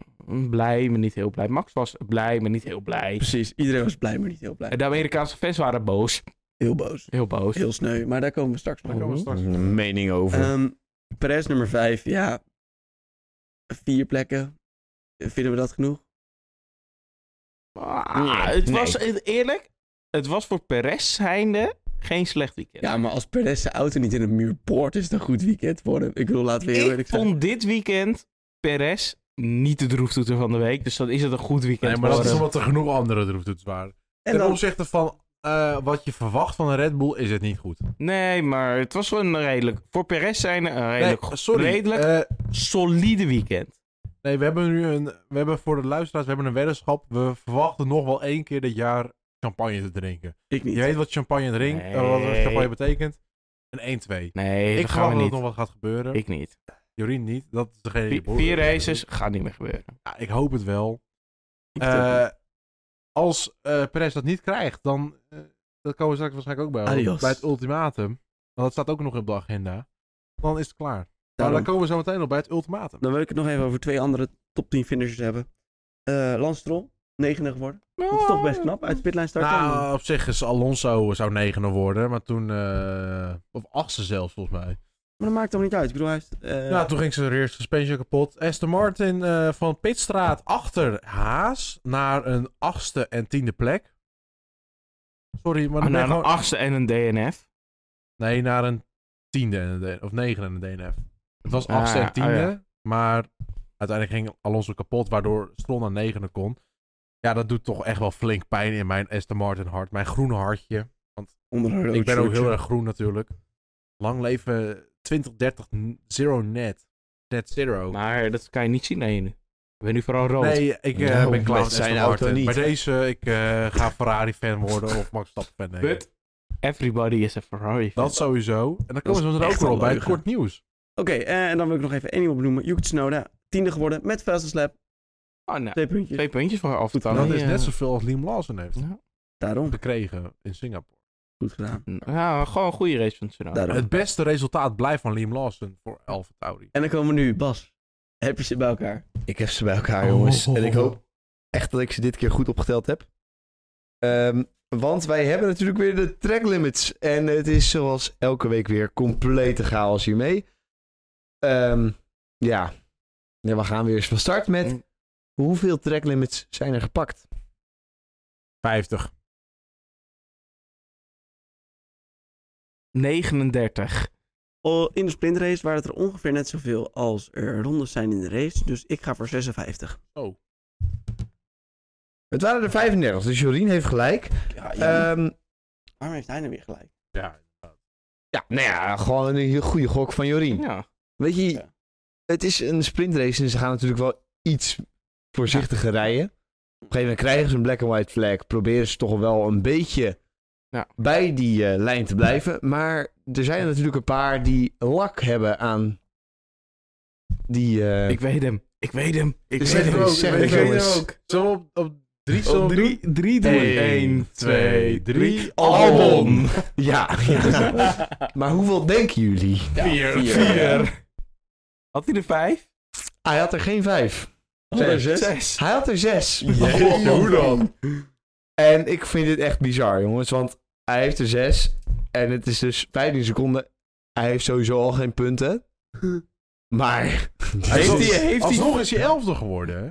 blij, maar niet heel blij. Max was blij, maar niet heel blij.
Precies, iedereen was blij, maar niet heel blij.
En de Amerikaanse fans waren boos.
Heel boos,
Heel boos.
heel sneu, maar daar komen we straks
Daar
nog
komen we
op.
straks.
mening over.
Eh.
Ehm Perez nummer 5, ja. Vier plekken. Eh, Vinden we dat genoeg?
Ah,
Nee,
het
nee.
was eh, eerlijk, het was voor Perez zijnde geen slecht weekend.
Ja, maar als Perez zijn auto niet in een muur boort, is het een goed weekend voor hem. Ik bedoel, laten we heel
ik
eerlijk zijn.
vond dit weekend Perez niet de droeftoeter van de week. Dus dan is het een goed weekend.
Nee, maar dat
voor
is
hem.
omdat er genoeg andere droeftoets waren.
En
Ten
dan,
opzichte van eh, wat je verwacht van een Red Bull is het niet goed.
Nee, maar het was wel een redelijk... Voor Perez zijnde een redelijk,
nee, sorry.
redelijk
Eh,
solide weekend.
nee, we hebben nu een. We hebben voor de luisteraars, we hebben een weddenschap. We verwachten nog wel één keer dit jaar champagne te drinken.
ik niet.
Je weet wat champagne drinkt, eh, wat
Nee.
champagne betekent. Een 1-2.
Nee,
ik
dat gaan
verwacht
we
dat
niet.
het nog wat gaat gebeuren.
Ik niet.
Jorien niet. Dat is degene die
Vier,
behoort-
vier races gaat niet meer gebeuren.
Ja, ik hoop het wel.
Ik
Eh,
denk-
als eh Perez dat niet krijgt, dan eh, dat komen we straks waarschijnlijk ook bij.
Adios.
Bij het ultimatum. Want dat staat ook nog op de agenda. Dan is het klaar. Maar
daarom-
dan komen we zo meteen nog bij het ultimatum.
Dan wil ik het nog even over twee andere top 10 finishers hebben. Eh Lance Stroll, negende geworden. Dat is toch best knap. Uit de pitlijn starten.
Ah. Nou, op zich is Alonso eh, zou negende worden, maar toen... eh, of achtste zelfs, volgens mij.
Maar dat maakt toch niet uit. Ik bedoel, hij heeft... eh,
Nou, toen ging ze de eerste suspension kapot. Aston Martin eh, van Pitstraat achter Haas naar een achtste en tiende plek. Sorry, maar dan
Ah,
ben
nou,
je
een
gewoon...
achtste en een DNF.
Nee, naar een tiende en een DNF, of negende en een DNF. Het was
Ah,
achtste en
ah,
tiende,
ja.
maar uiteindelijk ging Alonso kapot, waardoor Stroll naar negende kon. Ja, dat doet toch echt wel flink pijn in mijn Aston Martin hart, mijn groene hartje.
onder een rood
Ik ben ook
shirtje.
heel erg groen natuurlijk. Lang leven 2030 n- zero net. Net zero.
Maar dat kan je niet zien aan je nu. Ik ben nu vooral rood.
nee, ik eh,
Nou,
ben klaar
met
met
zijn
Aston
auto
Martin.
niet.
Bij deze, ik eh, ga Ferrari-fan worden of Max Verstappen fan
But everybody is a Ferrari. fan.
Dat sowieso. En dan
Dat
komen we
is
zo meteen ook
echt
weer
een
op bij het
leugen.
kort nieuws.
Oké, eh, en dan wil ik nog even één iemand benoemen. Yuki Tsunoda, tiende geworden met Fastest Lap.
Oh, nou,
Twee puntjes.
twee puntjes voor af en toe.
dat is net zoveel als Liam Lawson heeft
Nou.
Daarom.
gekregen in Singapore.
Goed gedaan.
Nou, Ja, gewoon een goede race van Tsunoda.
Daarom.
Het beste resultaat blijft van Liam Lawson voor Alfa Tauri.
En dan komen we nu, Bas. Heb je ze bij elkaar?
Ik heb ze bij elkaar, jongens. En ik hoop echt dat ik ze dit keer goed opgeteld heb. Ehm, want wij hebben natuurlijk weer de track limits. En het is zoals elke week weer complete chaos hiermee. Ehm, ja. ja, we gaan weer eens van start
Mm.
met... Hoeveel track limits zijn er gepakt?
50.
39.
Oh, In de sprintrace waren het er ongeveer net zoveel als er rondes zijn in de race. Dus ik ga voor 56.
Oh.
Het waren er 35,
Eh,
dus Jorien heeft gelijk.
Ja,
Ehm,
waarom heeft hij nou weer gelijk?
Ja.
Ja, nou ja, gewoon een goede gok van Jorien.
Ja.
Weet je,
Ja.
het is een sprintrace en ze gaan natuurlijk wel iets voorzichtiger rijden. Op een gegeven moment krijgen ze een black and white flag. Proberen ze toch wel een beetje
Ja.
bij die eh, lijn te blijven. Maar er zijn natuurlijk een paar die lak hebben aan die... eh,
Ik weet hem. Ik weet hem. Ik
Ik
weet
zeg
het
hem.
ook,
zeg
ik
het,
weet het
jongens.
ook. Zullen we op, op drie? Zullen
Op
we
drie, drie doen.
Eén,
Eén,
twee, drie.
Albon.
ja, ja. maar hoeveel denken jullie?
Vier.
vier.
Vier. Had hij er vijf?
Hij had er geen vijf.
Zes.
Oh, Zes.
Hij had er zes. Oh.
Jeetje, hoe dan?
En ik vind dit echt bizar, jongens. Want hij heeft er 6. En het is dus 15 seconden. Hij heeft sowieso al geen punten. Maar.
Heeft
Dit is-
hij,
hij- heeft hij-
alsnog is hij elfde geworden. hè?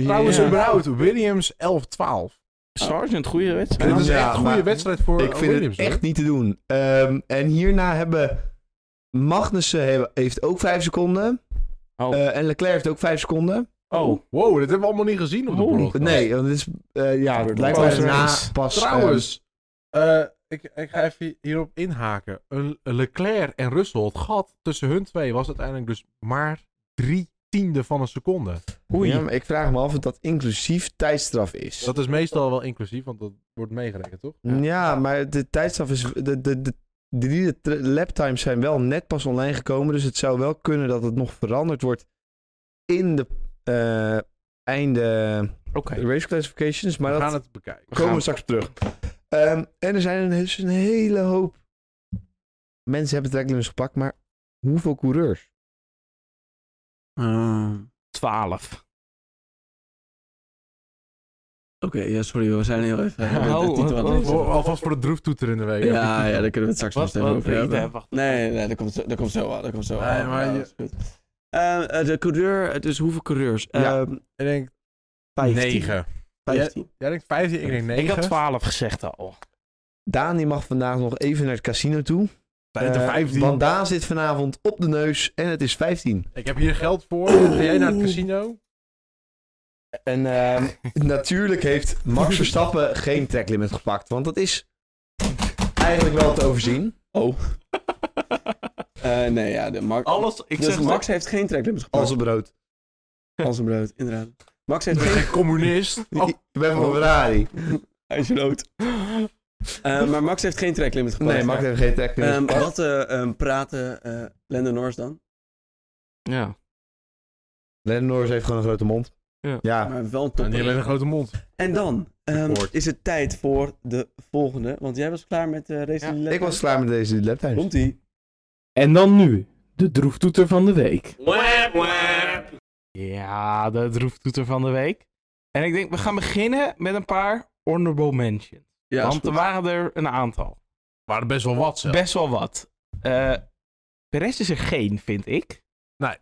Ja.
Trouwens, überhaupt, Williams 11-12.
Sergeant, goede wedstrijd.
Dit is
Ja,
echt een goede
maar-
wedstrijd voor
Ik vind
Williams.
het echt niet te doen. Ehm, en hierna hebben. Magnussen he- heeft ook 5 seconden.
Oh.
Eh, en Leclerc heeft ook 5 seconden.
hoor.
Oh.
Wow, dat hebben we allemaal niet gezien op de
Oh.
podcast.
Nee, want dit is. eh, ja, het lijkt
Pas
wel na
race.
pas. ehm,
Trouwens, eh, ik, ik ga even hierop inhaken. Een Leclerc en Russell, het gat tussen hun twee was uiteindelijk dus maar drie tiende van een seconde.
Oei.
ehm, ja, maar ik vraag me af of dat inclusief tijdstraf is.
Dat is meestal wel inclusief, want dat wordt meegerekend, toch?
Ja, maar de tijdstaf is. De, de, de, de drie tra- laptimes zijn wel net pas online gekomen. Dus het zou wel kunnen dat het nog veranderd wordt in de eh, einde
Oké.
race classifications. Maar
we
dat
gaan het bekijken.
komen
gaan-
we straks terug. Ehm, en er zijn een, dus een hele hoop mensen hebben tracklimits gepakt, maar hoeveel coureurs?
Ah,
Twaalf.
Oké, ja, sorry, we zijn heel even.
Oh,
de titel
wat-
aan
wat-
het lezen.
Voor- alvast voor de droeftoeter in de week.
Ja, ja, daar kunnen we het straks nog eens
Wat?
even
wat
over hebben.
nee, wacht.
Nee, nee, dat komt zo, dat komt zo wel. Dat komt zo wel.
Nee, maar
Ja,
je-
dat is goed. Eh, eh, de coureur, dus hoeveel coureurs?
Ja.
Ehm,
Ik denk
15.
9.
15.
Jij denkt 15, ik denk 9.
Ik had twaalf gezegd al.
Daan die mag vandaag nog even naar het casino toe.
Zijn het er
Eh,
15?
want Daan zit vanavond op de neus en het is 15.
Ik heb hier geld voor. Ga jij naar het casino?
En ehm, natuurlijk heeft Max Verstappen geen tracklimit gepakt. Want dat is eigenlijk wel te overzien.
Oh. Eh, nee, ja, de Max.
Alles, ik
dus
zeg
Max heeft geen tracklimits gepakt.
Als een brood.
Als een brood, inderdaad. Max
Ik
heeft
ben
geen.
geen communist. Oh,
Ik ben van Ferrari.
Hij is rood. Eh, maar Max heeft geen tracklimit gepakt.
Nee, Max heeft geen tracklimit
Oh. Ehm,
gepakt.
wat eh, ehm, praten eh Lando Norris dan?
Ja.
Lennon Norris heeft gewoon een grote mond.
Ja.
Ja.
Maar wel een
en die
topper.
alleen een grote mond.
En dan ehm,
Akkoord.
is het tijd voor de volgende. Want jij was klaar met eh
Ja,
race
Ik was klaar met deze laptime.
Komt ie.
En dan nu, de droeftoeter van de week.
Ja, de droeftoeter van de week. En ik denk, we gaan beginnen met een paar honorable mentions.
Ja, is
Want er
goed.
waren er een aantal.
Waren best wel wat zelf.
Best wel wat. Eh de rest is er geen, vind ik.
Nee.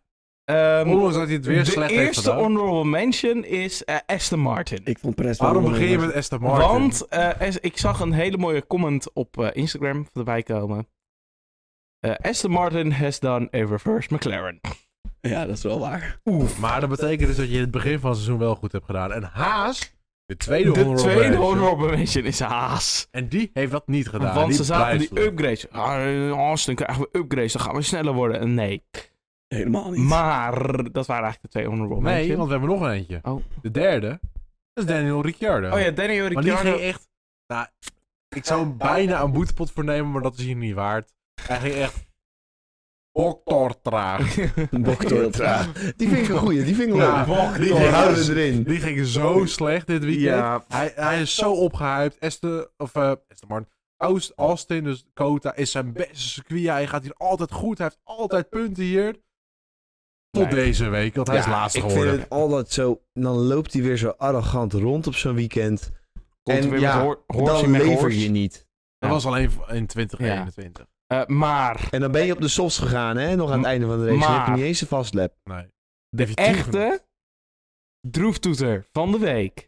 Ehm,
Ondanks dat hij het weer
de
slecht heeft
eerste
gedaan.
honorable mention is eh, Aston Martin.
ik vond Perez wel
Waarom
een-
begin je met Esther Martin?
Want eh, es- ik zag een hele mooie comment op eh, Instagram voorbij komen. Eh, Aston Martin has done a reverse McLaren.
Ja, dat is wel waar.
Maar dat betekent dus dat je het begin van het seizoen wel goed hebt gedaan. En Haas, de tweede
De
honorable
tweede
mention.
honorable mention is Haas.
En die heeft dat niet gedaan.
Want
Die
ze zaten
blijft
die upgrades. Ah, Austin krijgen we upgrades, dan gaan we sneller worden. En nee.
Helemaal niet.
Maar dat waren eigenlijk de twee honorable
Nee,
mentions.
want we hebben nog eentje.
Oh.
De derde, dat is Daniel Ricciardo.
Oh ja, Daniel
Maar die
Ricciardo.
ging echt... Nou, ik zou hem bijna een boetepot voor nemen, maar dat is hier niet waard. Hij ging echt... Oktortraag.
Boktor. Die vind ik een goeie. Die vind ik leuk.
Ja,
die
die-
houden we erin.
Die ging zo slecht dit weekend.
Ja.
Hij, hij is zo opgehyped. Esther, of eh Esther Martin. Oost- Austin, dus Kota, is zijn beste circuit. Hij gaat hier altijd goed. Hij heeft altijd punten hier. Tot
Nee.
deze week, want hij is
Ja,
laatste
Ik vind
geworden.
het altijd zo... Dan loopt hij weer zo arrogant rond op zo'n weekend.
Komt
En
weer
ja,
met hoor, horsey
Dan
met
lever
horse.
je niet.
Dat was alleen in 2021.
Eh, maar
En dan ben je op de softs gegaan, hè? Nog aan het
M-
einde van de race. Dan heb je
maar-
niet eens een vast lap.
Nee. Definitief niet.
echte droeftoeter van de week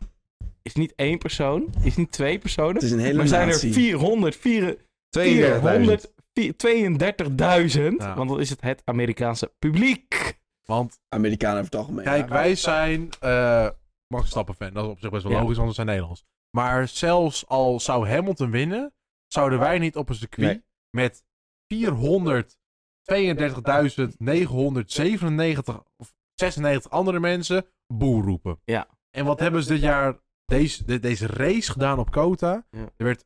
is niet één persoon, is niet twee
Het
personen,
is een hele
maar zijn er
natie.
404
32.000.
432.000.
Ja.
Want dat is het, het Amerikaanse publiek.
Want
Amerikanen over het algemeen.
kijk, wij zijn eh Max Stappen fan. Dat is op zich best wel
Ja.
logisch, want we zijn Nederlands. Maar zelfs al zou Hamilton winnen, zouden wij niet op een circuit
Nee.
met 432.997 of 96 andere mensen boer roepen.
Ja.
En wat hebben ze dit jaar, deze, de- deze race gedaan op Kota?
Ja.
Er werd,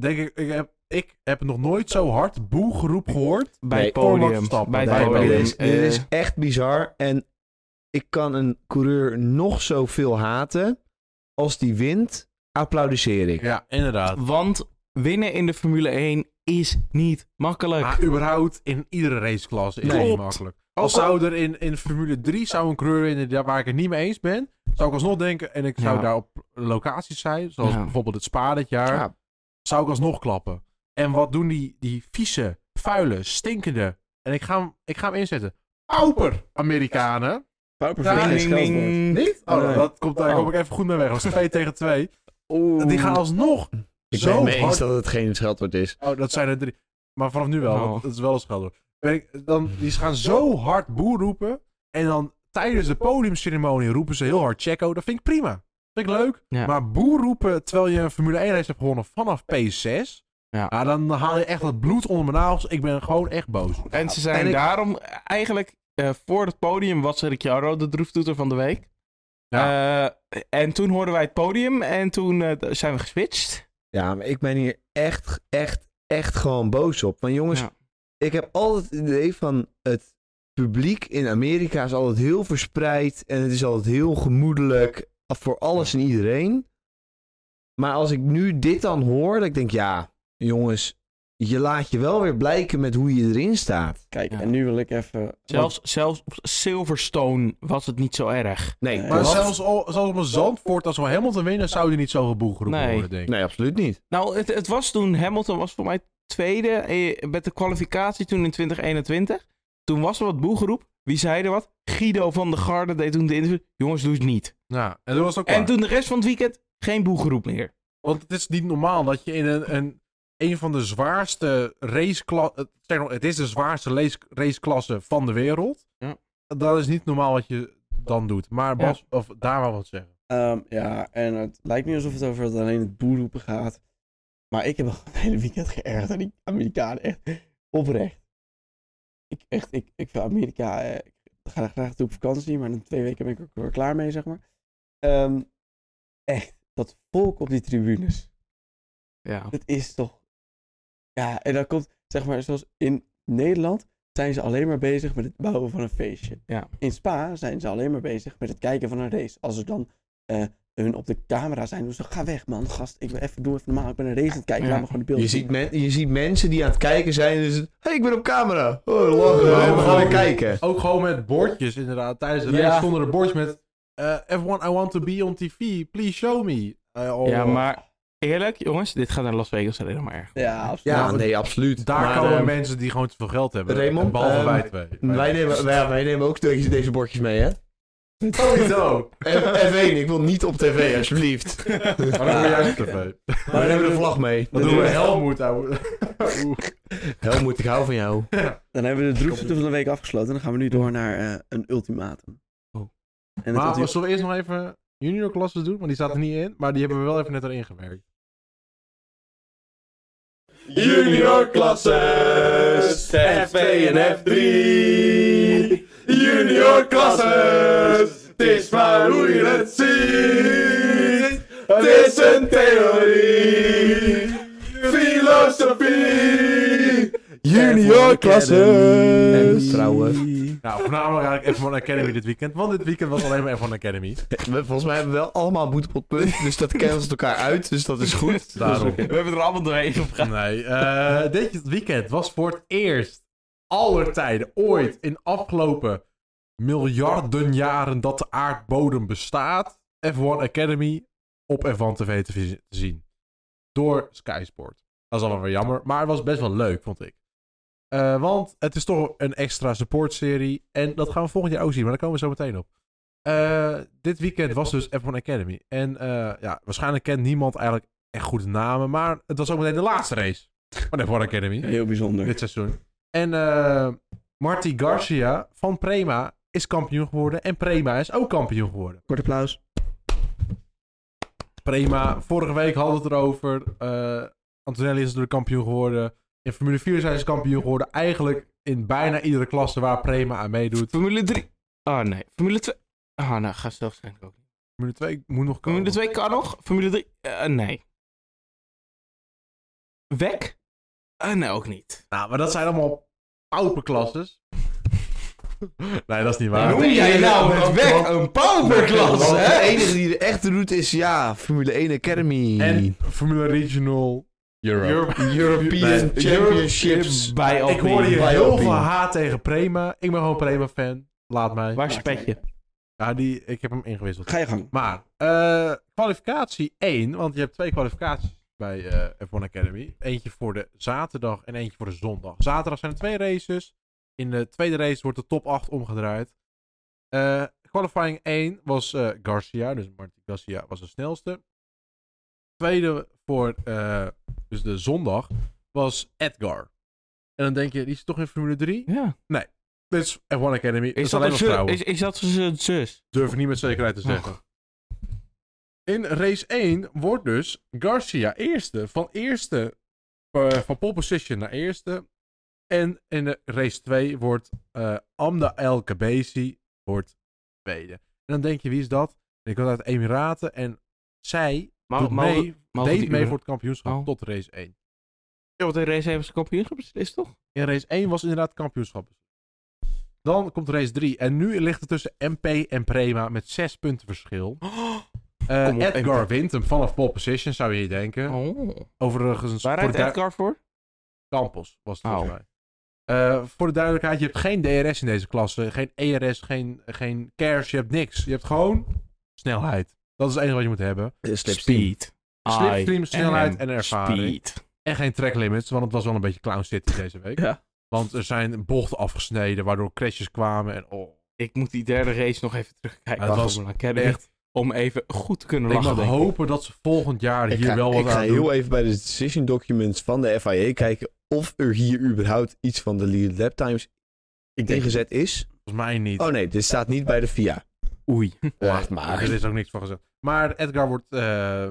denk ik, ik heb, ik heb nog nooit zo hard boe geroep gehoord.
Bij
Nee,
het podium.
Thomas Stappen.
Bij
Nee,
het
maar
dit,
podium.
is, dit
eh,
is echt bizar. En ik kan een coureur nog zoveel haten. Als die wint, applaudisseer ik.
Ja, inderdaad.
want winnen in de Formule 1 is niet makkelijk.
Maar überhaupt in iedere raceklasse is
Nee.
het niet
Klopt.
makkelijk. Als zou er in, in Formule 3 zou een coureur in de- waar ik het niet mee eens ben, zou ik alsnog denken, en ik zou
Ja.
daar op locaties zijn, zoals
Ja.
bijvoorbeeld het Spa dit jaar,
Ja.
zou ik alsnog klappen. En wat doen die, die vieze, vuile, stinkende, en ik ga hem, ik ga hem inzetten, pauper Amerikanen.
Pauper
Ja,
verdient
Ding,
geen
ding,
scheldwoord.
ding.
Niet? Oh,
Nee.
dat komt, daar
Oh.
kom ik even goed mee weg. Dat is 2 tegen 2.
Oeh.
Die gaan alsnog zo
het mee eens
hard
dat het geen scheldwoord is.
Oh, dat zijn er drie. Maar vanaf nu wel,
Oh.
want dat is wel een scheldwoord. Ben ik- Dan, die gaan zo hard boer roepen. En dan tijdens de podiumceremonie roepen ze heel hard Checo. Dat vind ik prima. Dat vind ik leuk.
Ja.
Maar boer roepen terwijl je een Formule 1 race hebt gewonnen vanaf P6.
Ja.
ah, dan haal je echt dat bloed onder mijn nagels. Ik ben gewoon echt boos.
En ze zijn
En ik-
daarom eigenlijk eh, voor het podium was Ricciardo de droeftoeter van de week. Eh, en toen hoorden wij het podium en toen eh, d- zijn we geswitcht.
Ja, maar ik ben hier echt, echt, echt gewoon boos op. Want jongens,
Ja.
ik heb altijd het idee van het publiek in Amerika is altijd heel verspreid. En het is altijd heel gemoedelijk voor alles en iedereen. Maar als ik nu dit dan hoor, dat ik denk, ja, jongens, je laat je wel weer blijken met hoe je erin staat.
Kijk,
Ja.
en nu wil ik even...
Zelfs, zelfs op Silverstone was het niet zo erg.
Nee,
Nee,
Maar
Wat?
zelfs, al, zelfs op een zandvoort, als we helemaal te winnen, zou die niet zo geboe geroepen
Nee.
worden, denk ik.
nee, absoluut niet.
Nou, het, het was toen, Hamilton was voor mij tweede eh, met de kwalificatie toen in 2021. Toen was er wat boegeroep. Wie zei er wat? Guido van der Garde deed toen de interview. Jongens, doe het niet.
Ja, en dat was ook
En
waar.
toen de rest van het weekend geen boegeroep meer.
Want het is niet normaal dat je in een, een, een van de zwaarste raceklassen... Zeg maar, het is de zwaarste lees- raceklasse van de wereld.
Ja.
Dat is niet normaal wat je dan doet. Maar Bas, of daar wel wat zeggen.
Ehm, ja, en het lijkt niet alsof het over het alleen het boerroepen gaat. Maar ik heb al het hele weekend geërgerd aan die Amerikanen. Echt oprecht. Ik, echt, ik, ik vind Amerika... eh, Ik ga er graag toe op vakantie, maar na twee weken ben ik er ook weer klaar mee, zeg maar. Ehm, echt, dat volk op die tribunes.
Ja.
Dat is toch... Ja, en dan komt, zeg maar, zoals in Nederland zijn ze alleen maar bezig met het bouwen van een feestje.
Ja.
In Spa zijn ze alleen maar bezig met het kijken van een race. Als er dan eh, hun op de camera zijn, doen ze, ga weg man, gast, ik wil even, doe even normaal, ik ben een race aan het kijken,
Ja.
laat me gewoon die
Je
beelden
ziet,
zien."
men- je ziet mensen die aan het kijken zijn en dus, hey, ik ben op camera. Oh, lachen, we gaan weer kijken.
Ook gewoon met bordjes inderdaad. Tijdens de race
Ja.
stonden er bordjes met... eh, everyone, I want to be on TV. Please show me. Eh, oh,
Ja, maar eerlijk, jongens, dit gaat naar Las Vegas alleen nog maar erg.
Ja, absoluut.
Ja,
maar
nee, absoluut.
Daar
Maar,
komen
eh,
mensen die gewoon te veel geld hebben.
Raymond,
En behalve
ehm,
wij twee.
Wij nemen, wij, ja, wij nemen ook deze, deze bordjes mee, hè? Sowieso. F1, ik wil niet op tv, alsjeblieft.
Maar dan ben jij op tv.
Wij nemen de vlag mee.
Dan doen we Helmoet, ouwe. Oeh.
Helmoet, ik hou van jou.
Dan hebben we de droefste van de week afgesloten en dan gaan we nu door naar eh, een ultimatum.
Oh.
En het
Maar
ulti-
zullen we eerst nog even junior klassen doen? Want die staat er niet in. Maar die hebben we wel even net erin gewerkt.
Junior klasses, F2 en F3. Junior klasses, het is maar hoe je het ziet. Het is een theorie, filosofie. Junior
En
klasses.
trouwen.
Nou, voornamelijk eigenlijk F1 Academy dit weekend. Want dit weekend was alleen maar F1 Academy.
We, volgens mij hebben we wel allemaal boete op punt. Dus dat cancelt elkaar uit. Dus dat is goed. Dus-
Daarom.
We hebben er allemaal doorheen op
Nee, eh, dit weekend was voor het eerst aller tijden ooit in afgelopen miljarden jaren dat de aardbodem bestaat. F1 Academy op F1 TV te vi- te zien. Door Sky Sport. Dat is allemaal weer jammer, maar het was best wel leuk, vond ik. Eh, want het is toch een extra supportserie. En dat gaan we volgend jaar ook zien, maar daar komen we zo meteen op. Eh, dit weekend was dus F1 Academy. En eh, ja, waarschijnlijk kent niemand eigenlijk echt goede namen. Maar het was ook meteen de laatste race van de F1 Academy
Heel bijzonder.
dit seizoen. En eh Marty Garcia van Prema is kampioen geworden. En Prema is ook kampioen geworden.
Kort applaus.
Prema, vorige week hadden we het erover. eh Antonelli is natuurlijk kampioen geworden. In Formule 4 zijn ze kampioen geworden. Eigenlijk in bijna iedere klasse waar Prema aan meedoet.
Formule 3. Ah nee, Formule 2. Ah nou, ga zelf zijn ook. niet.
Formule 2 moet nog komen.
Formule 2 kan nog. Formule 3. Eh, nee. Wek? Eh, nee, ook niet.
Nou, maar dat zijn allemaal pauperklasses. nee, dat is niet waar.
Noem jij nou met Wek een pauperklas,
Want de
hè?
enige die de echte route is, ja, Formule 1 Academy.
En Formule Regional Europe.
European
Nee.
Championships.
Bij
Ik hoorde hier
Bij
heel
Alpine.
veel haat tegen Prema. Ik ben gewoon Prema-fan. Laat mij.
Waar is je petje?
Ja, die, ik heb hem ingewisseld.
Ga je gang.
Maar, eh, kwalificatie 1, want je hebt twee kwalificaties bij eh, F1 Academy. Eentje voor de zaterdag en eentje voor de zondag. Zaterdag zijn er twee races. In de tweede race wordt de top 8 omgedraaid. Eh, qualifying 1 was eh, Garcia, dus Martin Garcia was de snelste. Tweede voor eh, dus de zondag was Edgar. En dan denk je, die is toch in Formule 3?
Ja.
Dit is F1 Academy.
Is dat,
alleen
een
maar
zu-
vrouwen.
is, is dat zijn zus?
Durf ik niet met zekerheid te zeggen. In race 1 wordt dus Garcia eerste. Van eerste, eh, van pole position naar eerste. En in de race 2 wordt eh, Amda El Kabesi wordt tweede. En dan denk je, wie is dat? Ik komt uit de Emiraten en zij
Ma-
doet
mogen-
mee,
mogen
deed
die
mee
uber-
voor het kampioenschap
Oh.
tot race 1.
Ja, want de race heeft zijn kampioenschap beslist, toch?
In race 1 was inderdaad kampioenschap. Dan komt race 3. En nu ligt het tussen MP en Prema met 6 punten verschil. Eh,
Kom op,
Edgar
MP.
wint hem vanaf pole position, zou je denken.
Oh.
Overigens,
Waar
voor
rijdt
de du-
Edgar voor?
Campos was het volgens
Oh.
mij. Eh, voor de duidelijkheid, je hebt geen DRS in deze klasse. Geen ERS, geen, geen CARES, je hebt niks. Je hebt gewoon snelheid. Dat is het enige wat je moet hebben.
Speed.
Slipstream, snelheid
am
en ervaring.
Speed.
En geen track limits, want het was wel een beetje Clown City deze week.
Ja.
Want er zijn bochten afgesneden, waardoor crashes kwamen. En oh,
Ik moet die derde race nog even terugkijken.
Het
van
was
Formula Academy,
echt.
Om even goed te kunnen
Ik
lachen.
mag
denk ik.
hopen dat ze volgend jaar
Ik
hier
ga,
wel wat
ik ga
aan doen.
heel even bij de decision documents van de FIA kijken of er hier überhaupt iets van de lead lap times ingezet is.
Volgens mij niet.
Oh nee, dit staat niet bij de FIA.
Oei.
Wacht maar.
Er is ook niks van gezegd. Maar Edgar wordt eh,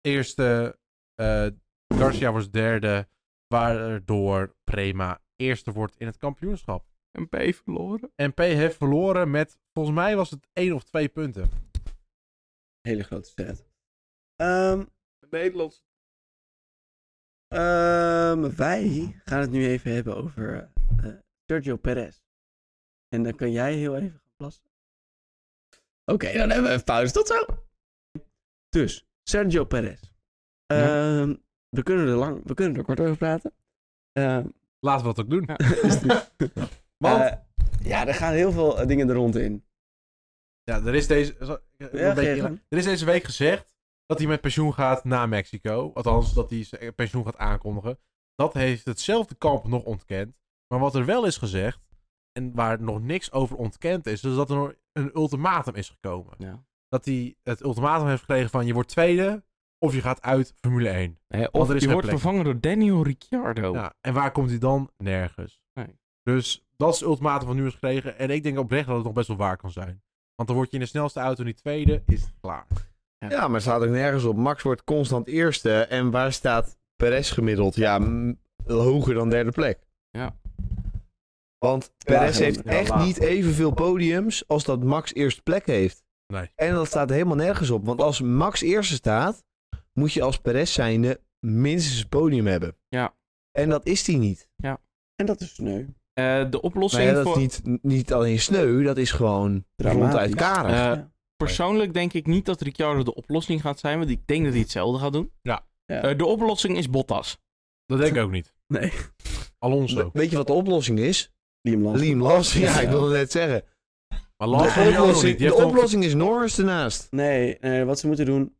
eerste. eh, Garcia wordt derde. Waardoor Prema eerste wordt in het kampioenschap.
En P verloren.
En P heeft verloren met, volgens mij was het één of twee punten.
Hele grote set. Ehm,
Nederlands.
ehm, wij gaan het nu even hebben over eh, Sergio Perez. En dan kan jij heel even gaan plassen. Oké, dan hebben we een pauze. Tot zo. Dus, Sergio Perez.
Ja.
Ehm, we, kunnen er lang, we kunnen er kort over praten. Ehm,
Laten we dat ook doen.
Ja.
Want
eh, ja, er gaan heel veel eh, dingen er rond in.
ja, er, is deze, zal- ik- een
Ja,
beetje
geef hem.
er is deze week gezegd dat hij met pensioen gaat naar Mexico. Althans, dat hij zijn pensioen gaat aankondigen. Dat heeft hetzelfde kamp nog ontkend. Maar wat er wel is gezegd, en waar nog niks over ontkend is, is dat er nog een ultimatum is gekomen.
Ja.
Dat hij het ultimatum heeft gekregen van je wordt tweede of je gaat uit Formule 1.
of
er is
je
geen
wordt
plek.
vervangen door Daniel Ricciardo.
Ja, en waar komt hij dan? Nergens.
Oh. Nee.
Dus dat is het ultimatum van nu is gekregen. En ik denk oprecht dat het nog best wel waar kan zijn. Want dan word je in de snelste auto niet tweede, is het klaar.
Ja, maar het staat ook nergens op. Max wordt constant eerste. En waar staat Perez gemiddeld? Ja, m- hoger dan derde plek.
Ja.
Want
Lager
Perez
dan-
heeft
ja,
echt
lager.
niet evenveel podiums als dat Max eerste plek heeft.
Nee.
En dat staat helemaal nergens op. Want als Max eerste staat, moet je als Perez zijnde minstens een podium hebben.
Ja.
En dat is hij niet.
En dat is sneu.
Eh, de oplossing
Nou ja, dat
voor...
is niet, niet alleen sneu, dat is gewoon
Dramatisch.
ronduit karig.
Eh,
Ja.
Persoonlijk denk ik niet dat Ricciardo de oplossing gaat zijn. Want ik denk dat hij hetzelfde gaat doen.
Ja.
Ja.
Eh, de oplossing is Bottas.
Dat denk ik ook niet.
Nee.
Alonso.
Weet je wat de oplossing is?
Liam Lawson.
Liam Lawson. Ja,
Ja.
ik wilde net zeggen.
Maar
De
Lawson heeft ook nog
oplossing,
niet. Die
de
heeft nog-
oplossing is Norris ernaast.
Nee, eh, wat ze moeten doen.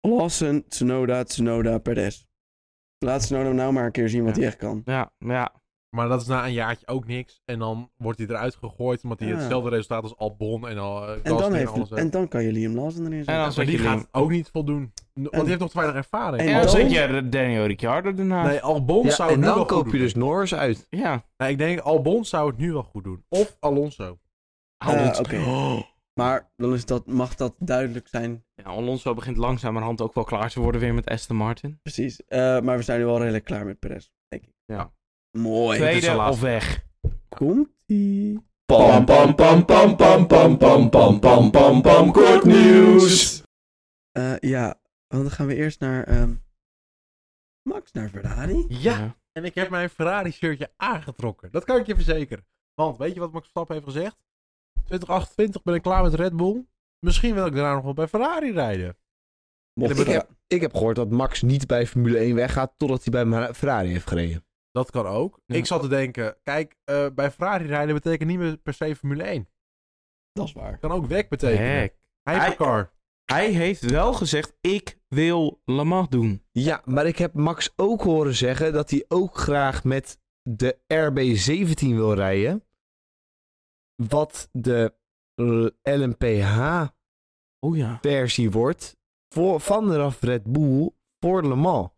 Lawson, Tsunoda, Tsunoda, Perez. Laat Tsunoda nou maar een keer zien wat
Ja.
hij echt kan.
Ja, ja.
Maar dat is na een jaartje ook niks. En dan wordt hij eruit gegooid omdat hij
Ah.
Ja.
hetzelfde resultaat als Albon en al. eh,
En
Gasly
dan,
en alles
heeft, en dan kan je Liam Lawson erin zetten.
En dan
Maar
zet
die
je,
gaat ook niet voldoen. Want
En-
die heeft nog te weinig ervaring.
en
en dan
dan-
zet je Daniel Ricciardo ernaast.
Nee, Albon
Ja,
zou het
en
nu wel
dan
goed
koop je
doen.
dus Norris uit.
Ja.
Nee, ik denk Albon zou het nu wel goed doen. Of Alonso.
Eh, Oké. Maar dan is dat, mag dat duidelijk zijn
Ja, Alonso begint langzamerhand ook wel klaar te worden weer met Aston Martin.
Precies. Eh, maar we zijn nu al redelijk klaar met Perez, denk ik.
Ja.
Mooi.
Tweede
Dus dan
of weg.
Komt ie.
Pam pam pam pam pam pam pam pam pam pam pam kort nieuws.
Eh, ja, want dan gaan we eerst naar ehm, Max, naar Ferrari.
Ja, en ik heb mijn Ferrari shirtje aangetrokken. Dat kan ik je verzekeren. Want weet je wat Max Verstappen heeft gezegd? 2028 ben ik klaar met Red Bull. Misschien wil ik daarna nog wel bij Ferrari rijden.
Mocht
Ik
er-
heb, ik heb gehoord dat Max niet bij Formule 1 weggaat totdat hij bij Mara- Ferrari heeft gereden.
Dat kan ook.
Ja.
Ik zat te denken, kijk, eh, bij Ferrari rijden betekent niet meer per se Formule 1.
Dat is waar.
Kan ook weg betekenen.
Heck.
Hypercar.
Hij heeft wel gezegd, ik wil Le Mans doen.
Ja, maar ik heb Max ook horen zeggen dat hij ook graag met de RB17 wil rijden. Wat de LMPH-versie
Oh ja.
wordt voor, vanaf Red Bull voor Le Mans.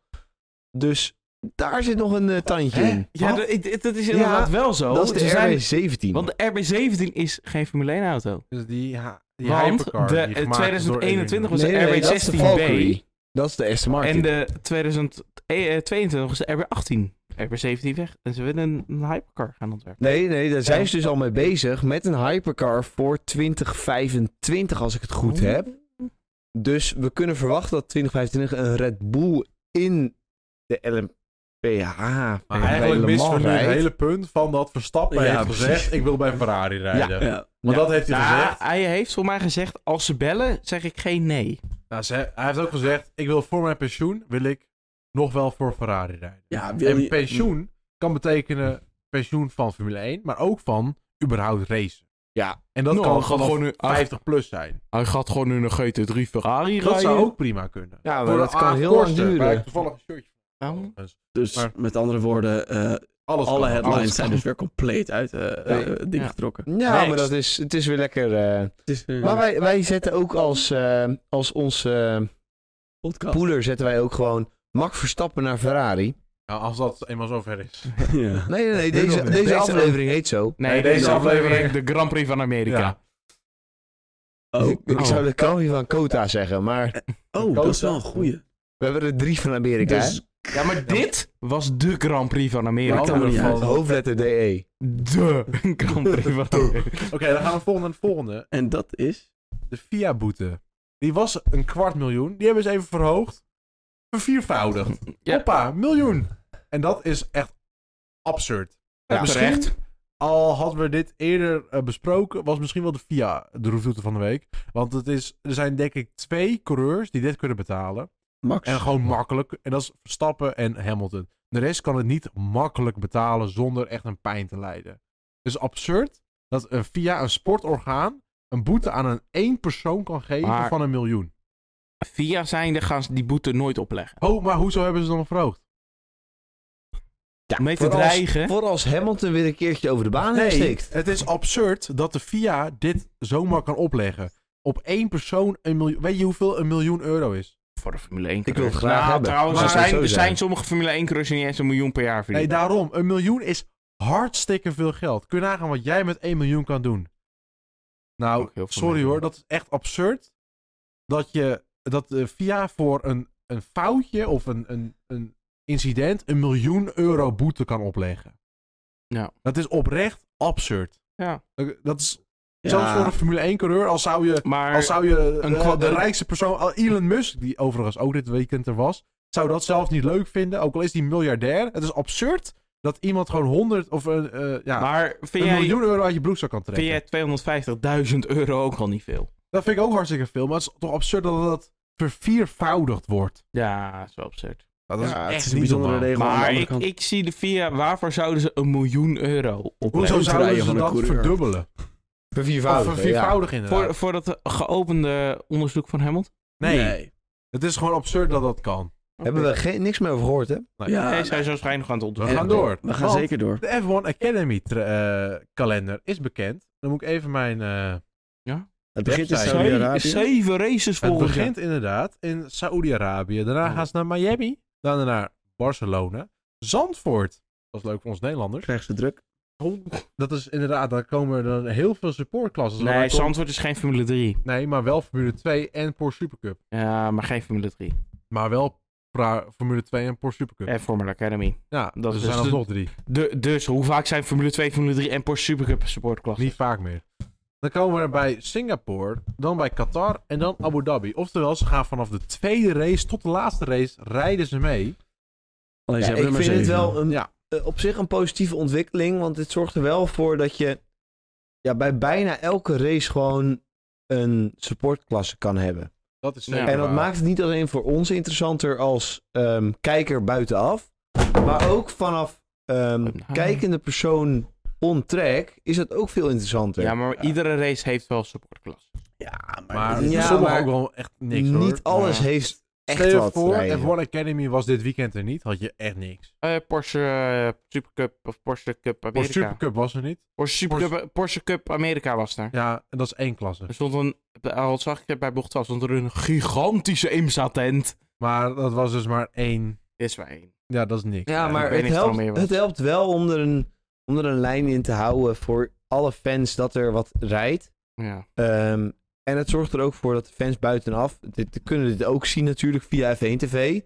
Dus daar zit nog een eh, tandje in.
Ja,
Wat?
dat, ik- dat is inderdaad wel zo.
dat is
Oh, Ze
de
zijn-
RB17.
Want de RB17 is geen Formule 1 auto.
Dus die, ha- die
Want
Hypercar.
de,
die
eh,
gemaakt is door
2021 was
Nee, nee,
de
nee, dat is de
RB16B.
Valkyrie. Dat is de Aston Martin.
En de 2022 is de RB18. RB17 weg. En ze willen een, een hypercar gaan ontwerpen.
Nee, nee, daar zijn ze dus al mee bezig met een hypercar voor 2025, als ik het goed heb. Dus we kunnen verwachten dat 2025 een Red Bull in de LMPH.
Maar eigenlijk missen we nu het
rijdt.
hele punt van dat Verstappen
Ja,
heeft
precies.
gezegd, ik wil bij Ferrari rijden.
Ja.
Want dat heeft hij
Ja,
gezegd.
Nou, hij heeft voor mij gezegd, als ze bellen, zeg ik geen nee.
Nou, ze- hij heeft ook gezegd, ik wil voor mijn pensioen, wil ik nog wel voor Ferrari rijden.
Ja, wil
En
je-
pensioen kan betekenen pensioen van Formule 1, maar ook van überhaupt racen.
Ja.
En dat
Nou,
kan
dat gaat
gewoon
gewoon nu-
50 plus zijn.
Hij gaat gewoon nu een GT3 Ferrari
Dat zou ook prima kunnen.
Ja, maar
Voor de
dat kan
Aaf
heel lang
Korsten, waar
duren.
ik toevallig een shirtje
Nou.
van heb.
Dus
Maar-
met andere woorden, eh,
Alles
alle
kan.
headlines
Alles
zijn
kan.
dus weer compleet uit eh eh,
Nee.
dingen
Ja.
getrokken.
Oh. Ja,
Next.
maar dat is, het is weer lekker. eh.
Het is weer
Maar wij, wij zetten ook als, eh, als onze
podcast.
poeler zetten wij ook gewoon Max Verstappen naar Ferrari.
Ja, Nou, als dat eenmaal zover is.
Ja.
Nee, nee, nee,
Nu nog
deze,
niet.
deze
Deze
aflevering heet zo.
Nee,
Nee,
deze,
deze
aflevering,
aflevering-
de Grand Prix van Amerika.
Ja.
Oh,
Ik, ik zou de Calvi van Kota zeggen, maar
oh dat is wel een goeie.
we hebben er drie van Amerika. hè?
Dus,
Ja, maar dit was de Grand Prix van Amerika.
Maar kan er niet uit.
De hoofdletter E. DE.
De Grand Prix van Amerika.
Oké, dan gaan we volgende naar het volgende.
en dat is...
De FIA-boete. Die was een kwart miljoen. Die hebben ze even verhoogd. Verviervoudigd.
Ja.
Hoppa, miljoen. En dat is echt absurd. En
Ja,
misschien,
terecht.
Al hadden we dit eerder eh, besproken, was misschien wel de FIA de roeftoeter van de week. Want het is, er zijn denk ik twee coureurs die dit kunnen betalen.
Max.
En gewoon makkelijk. En dat is Verstappen en Hamilton. De rest kan het niet makkelijk betalen zonder echt een pijn te lijden. Het is absurd dat een FIA, een sportorgaan, een boete aan een één persoon kan geven
Maar-
van een miljoen.
Via zijnde gaan ze die boete nooit opleggen.
Oh, maar hoezo hebben ze het dan verhoogd?
Om mee te
vooral als-
dreigen.
Voor als Hamilton weer een keertje over de baan heen
Nee,
steekt.
het is absurd dat de FIA dit zomaar kan opleggen. Op één persoon een miljoen. Weet je hoeveel een miljoen euro is?
Voor de Formule 1
wil het graag
nou,
hebben.
trouwens, er
Maar-
zijn,
Zou
er
zo zijn.
zijn sommige Formule 1 coureurs die niet eens een miljoen per jaar
Nee,
verdienen.
daarom. Een miljoen is hartstikke veel geld. Kun je nagaan wat jij met 1 miljoen kan doen. Nou,
Ook heel veel
sorry
mensen.
hoor. Dat is echt absurd. Dat je dat de VIA voor een, een foutje of een, een, een incident een miljoen euro boete kan opleggen.
Ja.
Dat is oprecht absurd.
Ja.
Dat- Dat is
Ja.
zelfs voor een Formule 1 coureur, als zou je,
maar
als zou je
een
eh,
kwa-
de rijkste persoon, al Elon Musk, die overigens ook dit weekend er was, zou dat zelfs niet leuk vinden, ook al is hij miljardair. Het is absurd dat iemand gewoon 100 of een, eh, ja,
maar vind
een
jij,
miljoen euro uit je broekzak kan trekken.
vind jij 250.000 euro ook al niet veel?
Dat vind ik ook hartstikke veel, maar het is toch absurd dat dat verviervoudigd wordt.
Ja, dat is wel absurd.
Nou, dat
Ja,
is
het
echt
is een
niet
bijzondere
normaal.
regel. aan de
Maar
andere
ik,
kant.
ik zie de VIA, waarvoor zouden ze een miljoen euro opleggen?
Hoezo zouden
rijden
ze
van een
dat
coureur.
verdubbelen? Of
Verviervoudigen, ja.
verviervoudigen inderdaad.
Voor, voor dat geopende onderzoek van Hamilton?
Nee, het is gewoon absurd dat dat kan.
Hebben we geen, niks meer over gehoord, hè?
Ja,
Nee,
nou,
zijn ze waarschijnlijk aan het
We
onderzoeken.
gaan door.
we gaan
Want-
zeker door.
De F1 Academy tra- eh, kalender is bekend. Dan moet ik even mijn... eh,
Het begint in
website.
Zeven,
Saudi-Arabië.
zeven races
Het
volgens
begint inderdaad in Saoedi-Arabië. Daarna
Oh.
gaan ze naar Miami. Daarna naar Barcelona. Zandvoort. Dat is leuk voor ons Nederlanders.
Krijgen ze druk.
Dat is inderdaad, daar komen er dan heel veel supportklassen.
Nee, Zandvoort is geen Formule 3.
nee, maar wel Formule 2 en Porsche Supercup.
Ja, maar geen Formule 3.
Maar wel pra- Formule 2 en Porsche Supercup.
En Formula Academy.
ja,
dat
dat
is
er zijn
dus de-
alsnog drie.
De, dus hoe vaak zijn Formule 2, Formule 3 en Porsche Supercup supportklassen?
Niet vaak meer. Dan komen we bij Singapore, dan bij Qatar en dan Abu Dhabi. Oftewel, ze gaan vanaf de tweede race tot de laatste race rijden ze mee.
Alleen ze
Ja,
hebben er
ik
maar
vind het
zeven.
wel een,
Ja.
eh, op zich een positieve ontwikkeling. Want dit zorgt er wel voor dat je ja, bij bijna elke race gewoon een supportklasse kan hebben.
Dat is
Ja.
zeker
En
en dat
waar.
maakt het niet alleen voor ons interessanter als ehm, kijker buitenaf. Maar ook vanaf ehm,
Buitenaf.
kijkende persoon on track is dat ook veel interessanter.
Ja, maar iedere race heeft wel supportklassen.
Ja, maar,
Maar
dit is-
Ja,
sommigen
maar
ook wel echt niks hoor.
niet alles
Ja.
heeft echt
Stel je
wat.
voor,
rijden.
F1 Academy was dit weekend er niet, had je echt niks.
Eh, Porsche eh, Supercup of Porsche Cup Amerika.
Porsche Supercup was er niet.
Porsche, Supercup, eh, Porsche Cup Amerika was er.
Ja, en dat is één klasse.
Er stond een, al zag ik het bij bocht 12, stond er een gigantische IMSA-tent.
Maar dat was dus maar één.
Is waar één.
Ja, dat is niks.
Ja,
ik
maar
weet
het
niet of er al
helpt,
meer was.
het helpt wel om er, een, om er een lijn in te houden voor alle fans dat er wat rijdt.
Ja.
Ehm, en het zorgt er ook voor dat de fans buitenaf, dit, kunnen dit ook zien natuurlijk via F1 TV.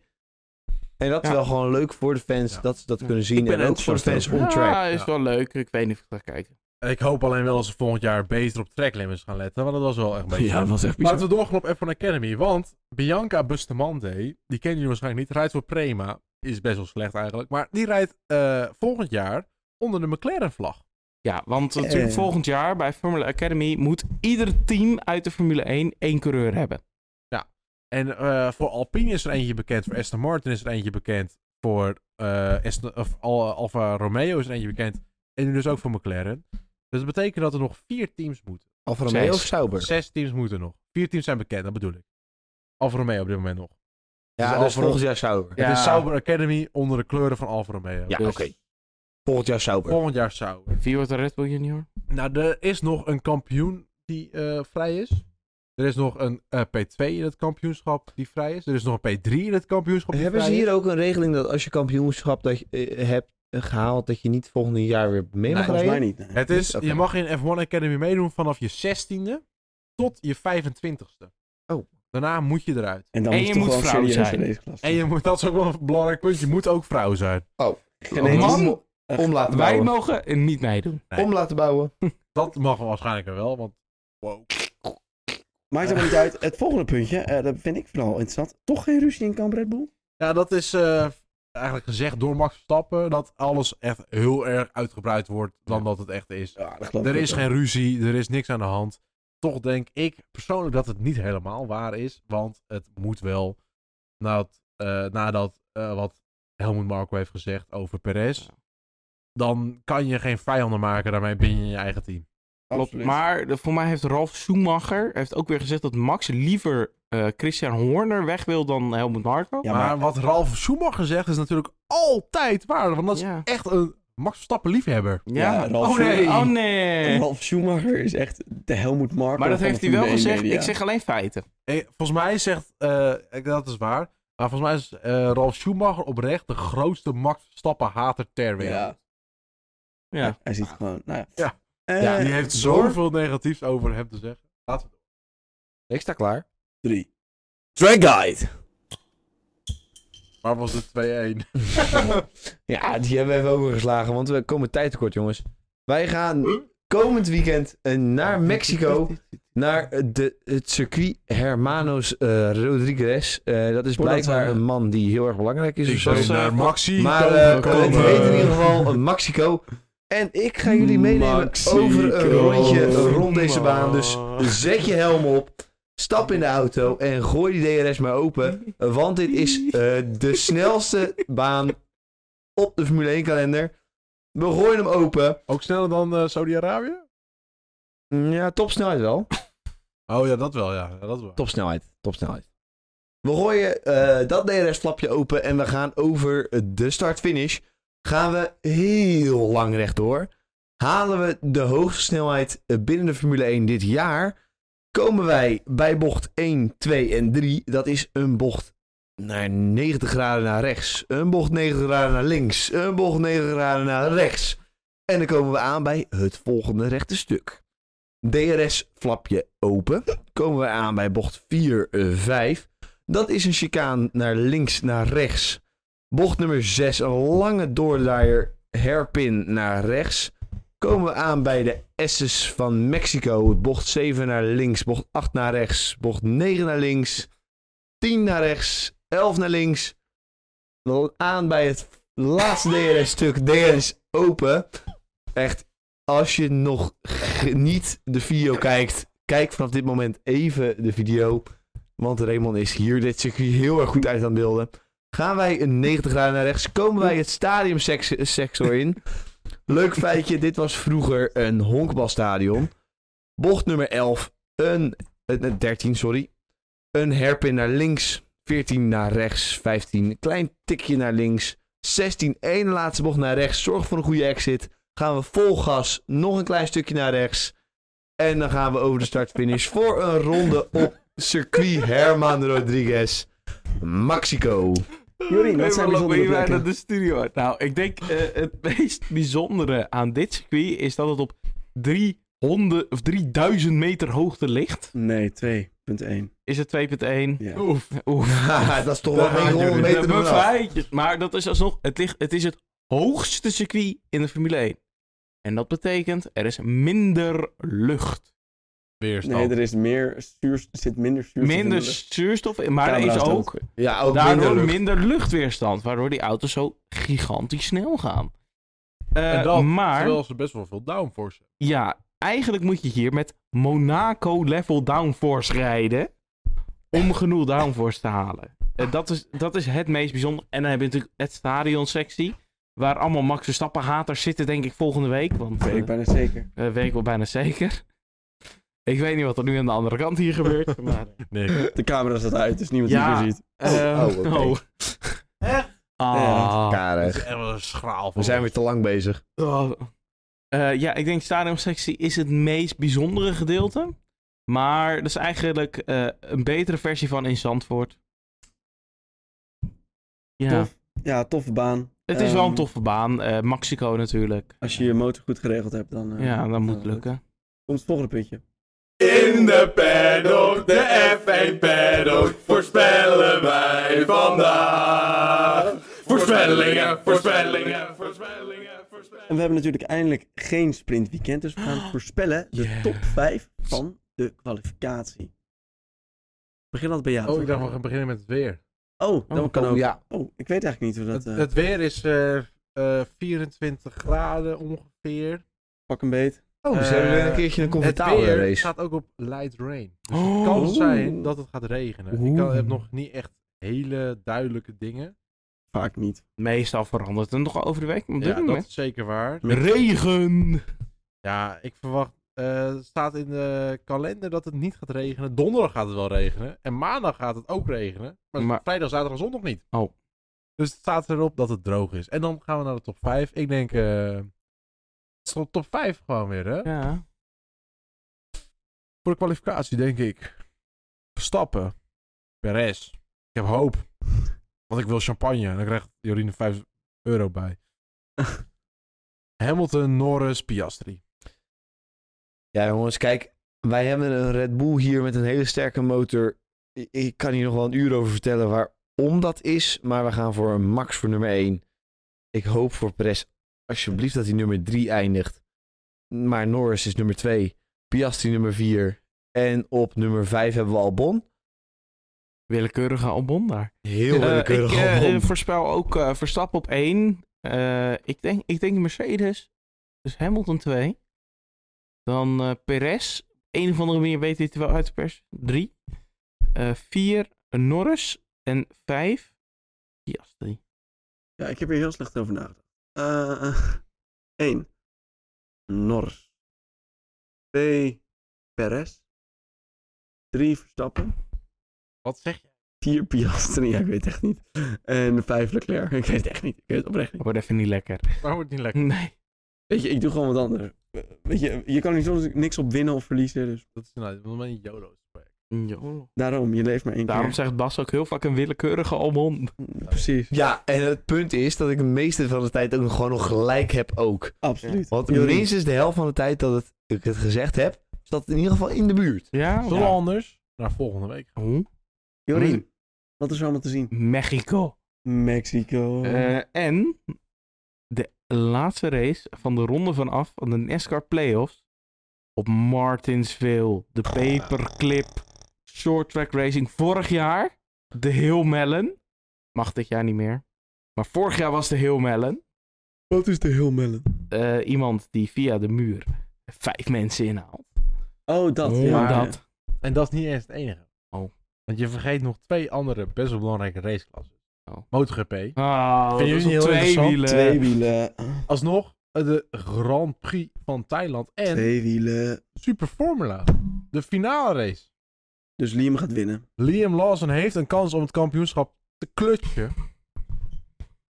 En dat is
Ja.
wel gewoon leuk voor de fans
Ja.
dat ze dat
Ja.
kunnen zien.
ben
En
er
ook voor de fans
enthousiast
on track.
Ja, Ah, is
Ja.
wel leuk. Ik weet niet of ik ga kijken.
Ik hoop alleen wel dat ze volgend jaar beter op track limits gaan letten, want dat was wel echt beter.
Ja, dat was echt bizar.
Maar Laten we doorgaan op F1 Academy. Want Bianca Bustamante, die kennen jullie waarschijnlijk niet, rijdt voor Prema. Is best wel slecht eigenlijk. Maar die rijdt eh, volgend jaar onder de McLaren-vlag.
Ja, want natuurlijk
Eh.
volgend jaar bij Formula Academy moet ieder team uit de Formule 1 één coureur hebben.
En eh, voor Alpine is er eentje bekend. Voor Aston Martin is er eentje bekend. Voor eh Aston, of Al- Alfa Romeo is er eentje bekend. En nu dus ook voor McLaren. Dus dat betekent dat er nog vier teams moeten.
Alfa Romeo
Zes.
of Sauber?
Zes teams moeten nog. Vier teams zijn bekend, dat bedoel ik. Alfa Romeo op dit moment nog.
Ja,
Dus
dus,
Alfa-
volgend jaar Sauber.
Ja.
Het is Sauber Academy onder de kleuren van Alfa Romeo.
Ja,
Dus-
oké. Volgend jaar Sauber.
Volgend jaar Sauber.
Wie wordt de Red Bull Junior?
Nou, er is nog een kampioen die eh, vrij is. Er is nog een eh, P2 in het kampioenschap die vrij is. Er is nog een P3 in het kampioenschap die
Hebben ze
vrij
hier
is.
ook een regeling dat als je kampioenschap dat je, eh, hebt eh, gehaald, dat je niet volgend jaar weer mee mag
Volgens
rijden?
mij niet. nee.
Het is,
Oké.
je mag in F1 Academy meedoen vanaf je 16e tot je 25ste.
Oh.
Daarna moet je eruit.
En dan
En
moet
je
toch
moet
wel een
vrouw
serieuze
zijn.
raceklas.
En je moet, dat is ook wel een belangrijk punt, je moet ook vrouw zijn.
Geen enkel-
Man,
Echt.
Om laten
Wij
bouwen.
mogen niet meedoen.
Nee.
Om laten bouwen.
Dat mag waarschijnlijk wel, want wow.
Maakt helemaal niet uit. Het volgende puntje, eh, dat vind ik vooral interessant. Toch geen ruzie in Kamp Red Bull?
Ja, dat is eh, eigenlijk gezegd door Max Verstappen, dat alles echt heel erg uitgebreid wordt dan dat het echt is.
Ja, dat geloof
Er
ik
is
ook.
geen ruzie, er is niks aan de hand. Toch denk ik persoonlijk dat het niet helemaal waar is. Want het moet wel nadat, eh, nadat eh, wat Helmut Marko heeft gezegd over Perez. Dan kan je geen vijanden maken daarmee binnen je eigen team.
Klopt.
Absoluut.
Maar de- voor mij heeft Ralf Schumacher heeft ook weer gezegd dat Max liever eh, Christian Horner weg wil dan Helmut Marko.
Ja,
maar,
maar,
wat Ralf Schumacher zegt is natuurlijk altijd waar. Want dat is
Ja.
echt een Max Verstappen liefhebber.
Ja, Ralf
oh nee.
Schumacher-
Oh nee.
Ralf Schumacher is echt de Helmut Marko
Maar dat
van de
heeft hij wel
Formule 1
gezegd.
media.
Ik zeg alleen feiten.
Eh, volgens mij zegt, eh, ik- dat is waar. Maar volgens mij is eh, Ralf Schumacher oprecht de grootste Max Verstappen hater ter wereld.
Ja.
Ja.
Hij ziet gewoon, nou ja.
Ja.
Eh,
Ja,
Die heeft
Door.
zoveel negatiefs over hem te zeggen. Laten we
Ik sta klaar.
Drie.
Drag Guide.
Maar was het 2-1?
Ja, die hebben we even overgeslagen, want we komen tijd tekort, jongens. Wij gaan komend weekend eh, naar Mexico, naar eh, de, het circuit Hermanos eh, Rodriguez. Eh, dat is
Voordat
blijkbaar
we- eh,
een man die heel erg belangrijk is of zo.
ben naar
Maxi.
Maar eh, het heet in ieder geval eh, Mexico. En ik ga jullie meenemen
Mexico.
over een rondje rond deze baan. Dus
Oh.
zet je helm op, stap in de auto en gooi die DRS maar open. Want dit is eh, de snelste baan op de Formule 1 kalender. We gooien hem open.
Ook sneller dan eh, Saudi-Arabië?
Mm, Ja, topsnelheid wel.
Oh ja, dat wel, ja. Ja, dat wel.
Topsnelheid, topsnelheid. We gooien eh, dat DRS-flapje open en we gaan over de start-finish. Gaan we heel lang rechtdoor. Halen we de hoogste snelheid eh, binnen de Formule 1 dit jaar. Komen wij bij bocht 1, 2 en 3. Dat is een bocht naar 90 graden naar rechts. Een bocht 90 graden naar links. Een bocht 90 graden naar rechts. En dan komen we aan bij het volgende rechte stuk. DRS-flapje open. Komen we aan bij bocht 4, eh, 5. Dat is een chicaan naar links, naar rechts. Bocht nummer 6, een lange doorlaaier, herpin naar rechts. Komen we aan bij de S's van Mexico. Bocht 7 naar links, bocht 8 naar rechts, bocht 9 naar links, 10 naar rechts, 11 naar links. Dan Aan bij het laatste DRS-stuk, DRS open. Echt, als je nog g- niet de video kijkt, kijk vanaf dit moment even de video. Want Raymond is hier dit circuit heel erg goed uit aan het beelden. Gaan wij een 90 graden naar rechts, komen wij het stadiumsector in. Leuk feitje, dit was vroeger een honkbalstadion. Bocht nummer 11, een, eh, eh, 13 sorry. Een herpin naar links, 14 naar rechts, 15 een klein tikje naar links. 16, één laatste bocht naar rechts, zorg voor een goede exit. Gaan we vol gas, nog een klein stukje naar rechts. En dan gaan we over de start-finish voor een ronde op circuit Herman Rodriguez. Mexico.
Jorien,
Nee,
dat zijn
maar lopen
bijzondere
hier bijna
plekken.
de studio uit. Nou, ik denk eh, het meest bijzondere aan dit circuit is dat het op 300 of 3000 meter hoogte ligt.
Nee, 2.1.
Is het 2.1?
Ja.
Oef. Oef.
dat is toch wel 900
De
meter vanaf.
bevrijdjes. Maar dat is alsnog, het, ligt, het is het hoogste circuit in de Formule 1. En dat betekent, er is minder lucht.
Weerstand.
Nee, er is meer stuur, zit minder stuur.
Minder zuurstof, in, maar er is
Camera's
ook
Ja, ook
daardoor
minder
minder,
lucht.
luchtweerstand. Waardoor die auto's zo gigantisch snel gaan. Eh,
En dat,
maar,
Terwijl ze best wel veel downforce hebben.
ja, eigenlijk moet je hier met Monaco-level downforce rijden. Om genoeg downforce te halen. Eh, dat, is, dat is het meest bijzonder. En dan heb je natuurlijk het stadionsectie. Waar allemaal Max Verstappen haters zitten, denk ik, volgende week. Want
Weet
eh
ik bijna zeker.
eh, weet ik wel bijna zeker. Ik weet niet wat er nu aan de andere kant hier gebeurt. Maar,
Nee.
De camera staat uit, dus niemand
Ja.
die meer ziet.
Eh,
oh, oké.
Echt?
Ja.
Ah.
Karig.
En wel een schraal van.
We zijn weer te lang bezig.
Oh. Eh, ja, ik denk stadionsectie is het meest bijzondere gedeelte. Maar dat is eigenlijk eh, een betere versie van in Zandvoort. Ja,
Tof. Ja, toffe baan.
het is wel een
Ehm,
toffe baan. eh Mexico natuurlijk.
Als je je motor goed geregeld hebt, dan... eh,
ja, dat moet
dan-
lukken.
Komt het volgende puntje.
In de paddock, de F1 paddock, voorspellen wij vandaag. Voorspellingen, voorspellingen, voorspellingen,
En we
voorspellingen.
hebben natuurlijk eindelijk geen sprintweekend, dus we gaan voorspellen de
Yeah.
top 5 van de kwalificatie. Begin altijd bij jou.
Oh, ik dacht we gaan beginnen met het weer.
Oh, dan
Oh,
kan
oh,
ook.
ja.
Oh, ik weet eigenlijk niet hoe dat...
Het,
eh
het weer is eh, eh, 24 graden ongeveer.
Pak een beet.
Oh,
Eh,
ze hebben weer een keertje een
Het
comfortabele
weer
race.
staat ook op light rain. Dus het kan
Oh.
zijn dat het gaat regenen. Ik kan, heb nog niet echt hele duidelijke dingen.
Vaak niet.
Meestal verandert het nog over de week. Op dit
Ja, dat
moment.
is zeker waar.
Regen!
Ja, ik verwacht. eh, Het staat in de kalender dat het niet gaat regenen. Donderdag gaat het wel regenen. En maandag gaat het ook regenen. Maar,
Maar-
vrijdag, zaterdag en zondag niet.
Oh.
Dus het staat erop dat het droog is. En dan gaan we naar de top 5. Ik denk. eh, top- top 5 gewoon weer, hè?
Ja.
Voor de kwalificatie denk ik. Verstappen. Perez. Ik heb hoop. Want ik wil champagne. En dan krijgt Jorine 5 euro bij. Hamilton, Norris, Piastri.
Ja, jongens, kijk. Wij hebben een Red Bull hier met een hele sterke motor. I- Ik kan hier nog wel een uur over vertellen waarom dat is. Maar we gaan voor een Max voor nummer 1. Ik hoop voor Perez alsjeblieft dat hij nummer 3 eindigt. Maar Norris is nummer 2. Piastri nummer 4. En op nummer 5 hebben we Albon.
Willekeurige Albon daar.
Heel
Eh,
willekeurig
ik, eh,
Albon.
voorspel ook eh, Verstappen op 1. ik, denk, ik denk Mercedes. Dus Hamilton 2. Dan eh, Perez. Een of andere manier weet hij het wel uit de pers. 3. 4. Norris. En 5. Piastri.
Ja, ik heb hier heel slecht over nagedacht. Eh 1. Norris. 2. Perez. 3. Verstappen.
Wat zeg je?
4. Piastri. Ja, ik weet het echt niet. En 5. Leclerc. Ik weet het echt niet. Ik weet het oprecht niet.
Dat wordt even niet lekker.
Daar wordt niet lekker.
Nee.
Weet je, ik doe gewoon wat anders. Eh, Weet je, je kan hier soms niks op winnen of verliezen. Dus
Dat is nou, dat is een YOLO-gesprek.
Daarom, je leeft maar één
Daarom
keer.
zegt Bas ook heel vaak een willekeurige Albon.
Precies,
Ja, en het punt is dat ik de meeste van de tijd ook nog gewoon nog gelijk heb ook.
absoluut.
Want
Jori.
minstens de helft van de tijd dat het, ik het gezegd heb, is dat in ieder geval in de buurt.
Ja,
Zullen we anders naar volgende week gaan?
Hoe?
Jorien, wat is er allemaal te zien?
Mexico.
Mexico.
Eh, en de laatste race van de ronde vanaf van de NASCAR Playoffs op Martinsville. De paperclip short track racing vorig jaar. De Hill Mellon. Mag dit jaar niet meer. Maar vorig jaar was de Hill Mellon.
wat is de heel melon?
eh, iemand die via de muur vijf mensen inhaalt.
Oh, dat.
Maar
ja.
dat.
En dat is niet eens het enige.
Oh.
Want je vergeet nog twee andere best wel belangrijke raceklassen.
Oh.
MotoGP.
Oh,
Vind je niet
dat is op
heel
twee
interessant?
wielen.
Twee wielen.
Alsnog eh, de Grand Prix van Thailand. En
Twee wielen.
Super Formula. De finale race.
Dus Liam gaat winnen.
Liam Lawson heeft een kans om het kampioenschap te klutchen.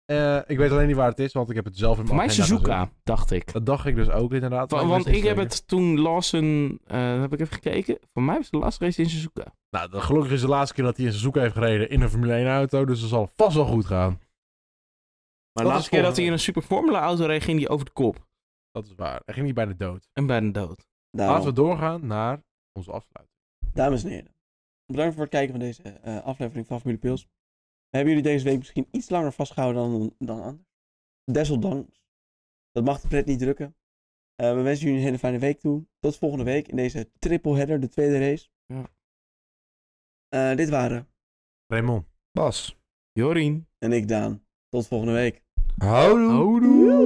Eh, ik weet alleen niet waar het is, want ik heb het zelf in
Voor
mijn
mij
agenda gezet.
Suzuka, dacht ik.
Dat dacht ik dus ook inderdaad. maar
Wa- want
wist
ik
niet
heb
zeker.
het toen Lawson, eh heb ik even gekeken. Voor mij was de laatste race in Suzuka.
Nou, de- gelukkig is de laatste keer dat hij in Suzuka heeft gereden in een Formule 1 auto, dus dat zal vast wel goed gaan.
Maar
Dat
de
is
laatste keer dat
volgende
hij in een Super Formula auto reed, ging hij over de kop.
Dat is waar. Hij ging niet bij de dood.
En bijna dood.
Daarom.
Laten we doorgaan naar onze afsluiting.
Dames en heren, bedankt voor het kijken van deze eh, aflevering van Familie Pils. We hebben jullie deze week misschien iets langer vastgehouden dan, dan anders. Desondanks, dat mag de pret niet drukken. Eh, we wensen jullie een hele fijne week toe. Tot volgende week in deze triple header, de tweede race.
Ja.
Eh, dit waren
Raymond.
Bas.
Jorien.
en ik, Daan. Tot volgende week.
Houdoe.
Houdoe.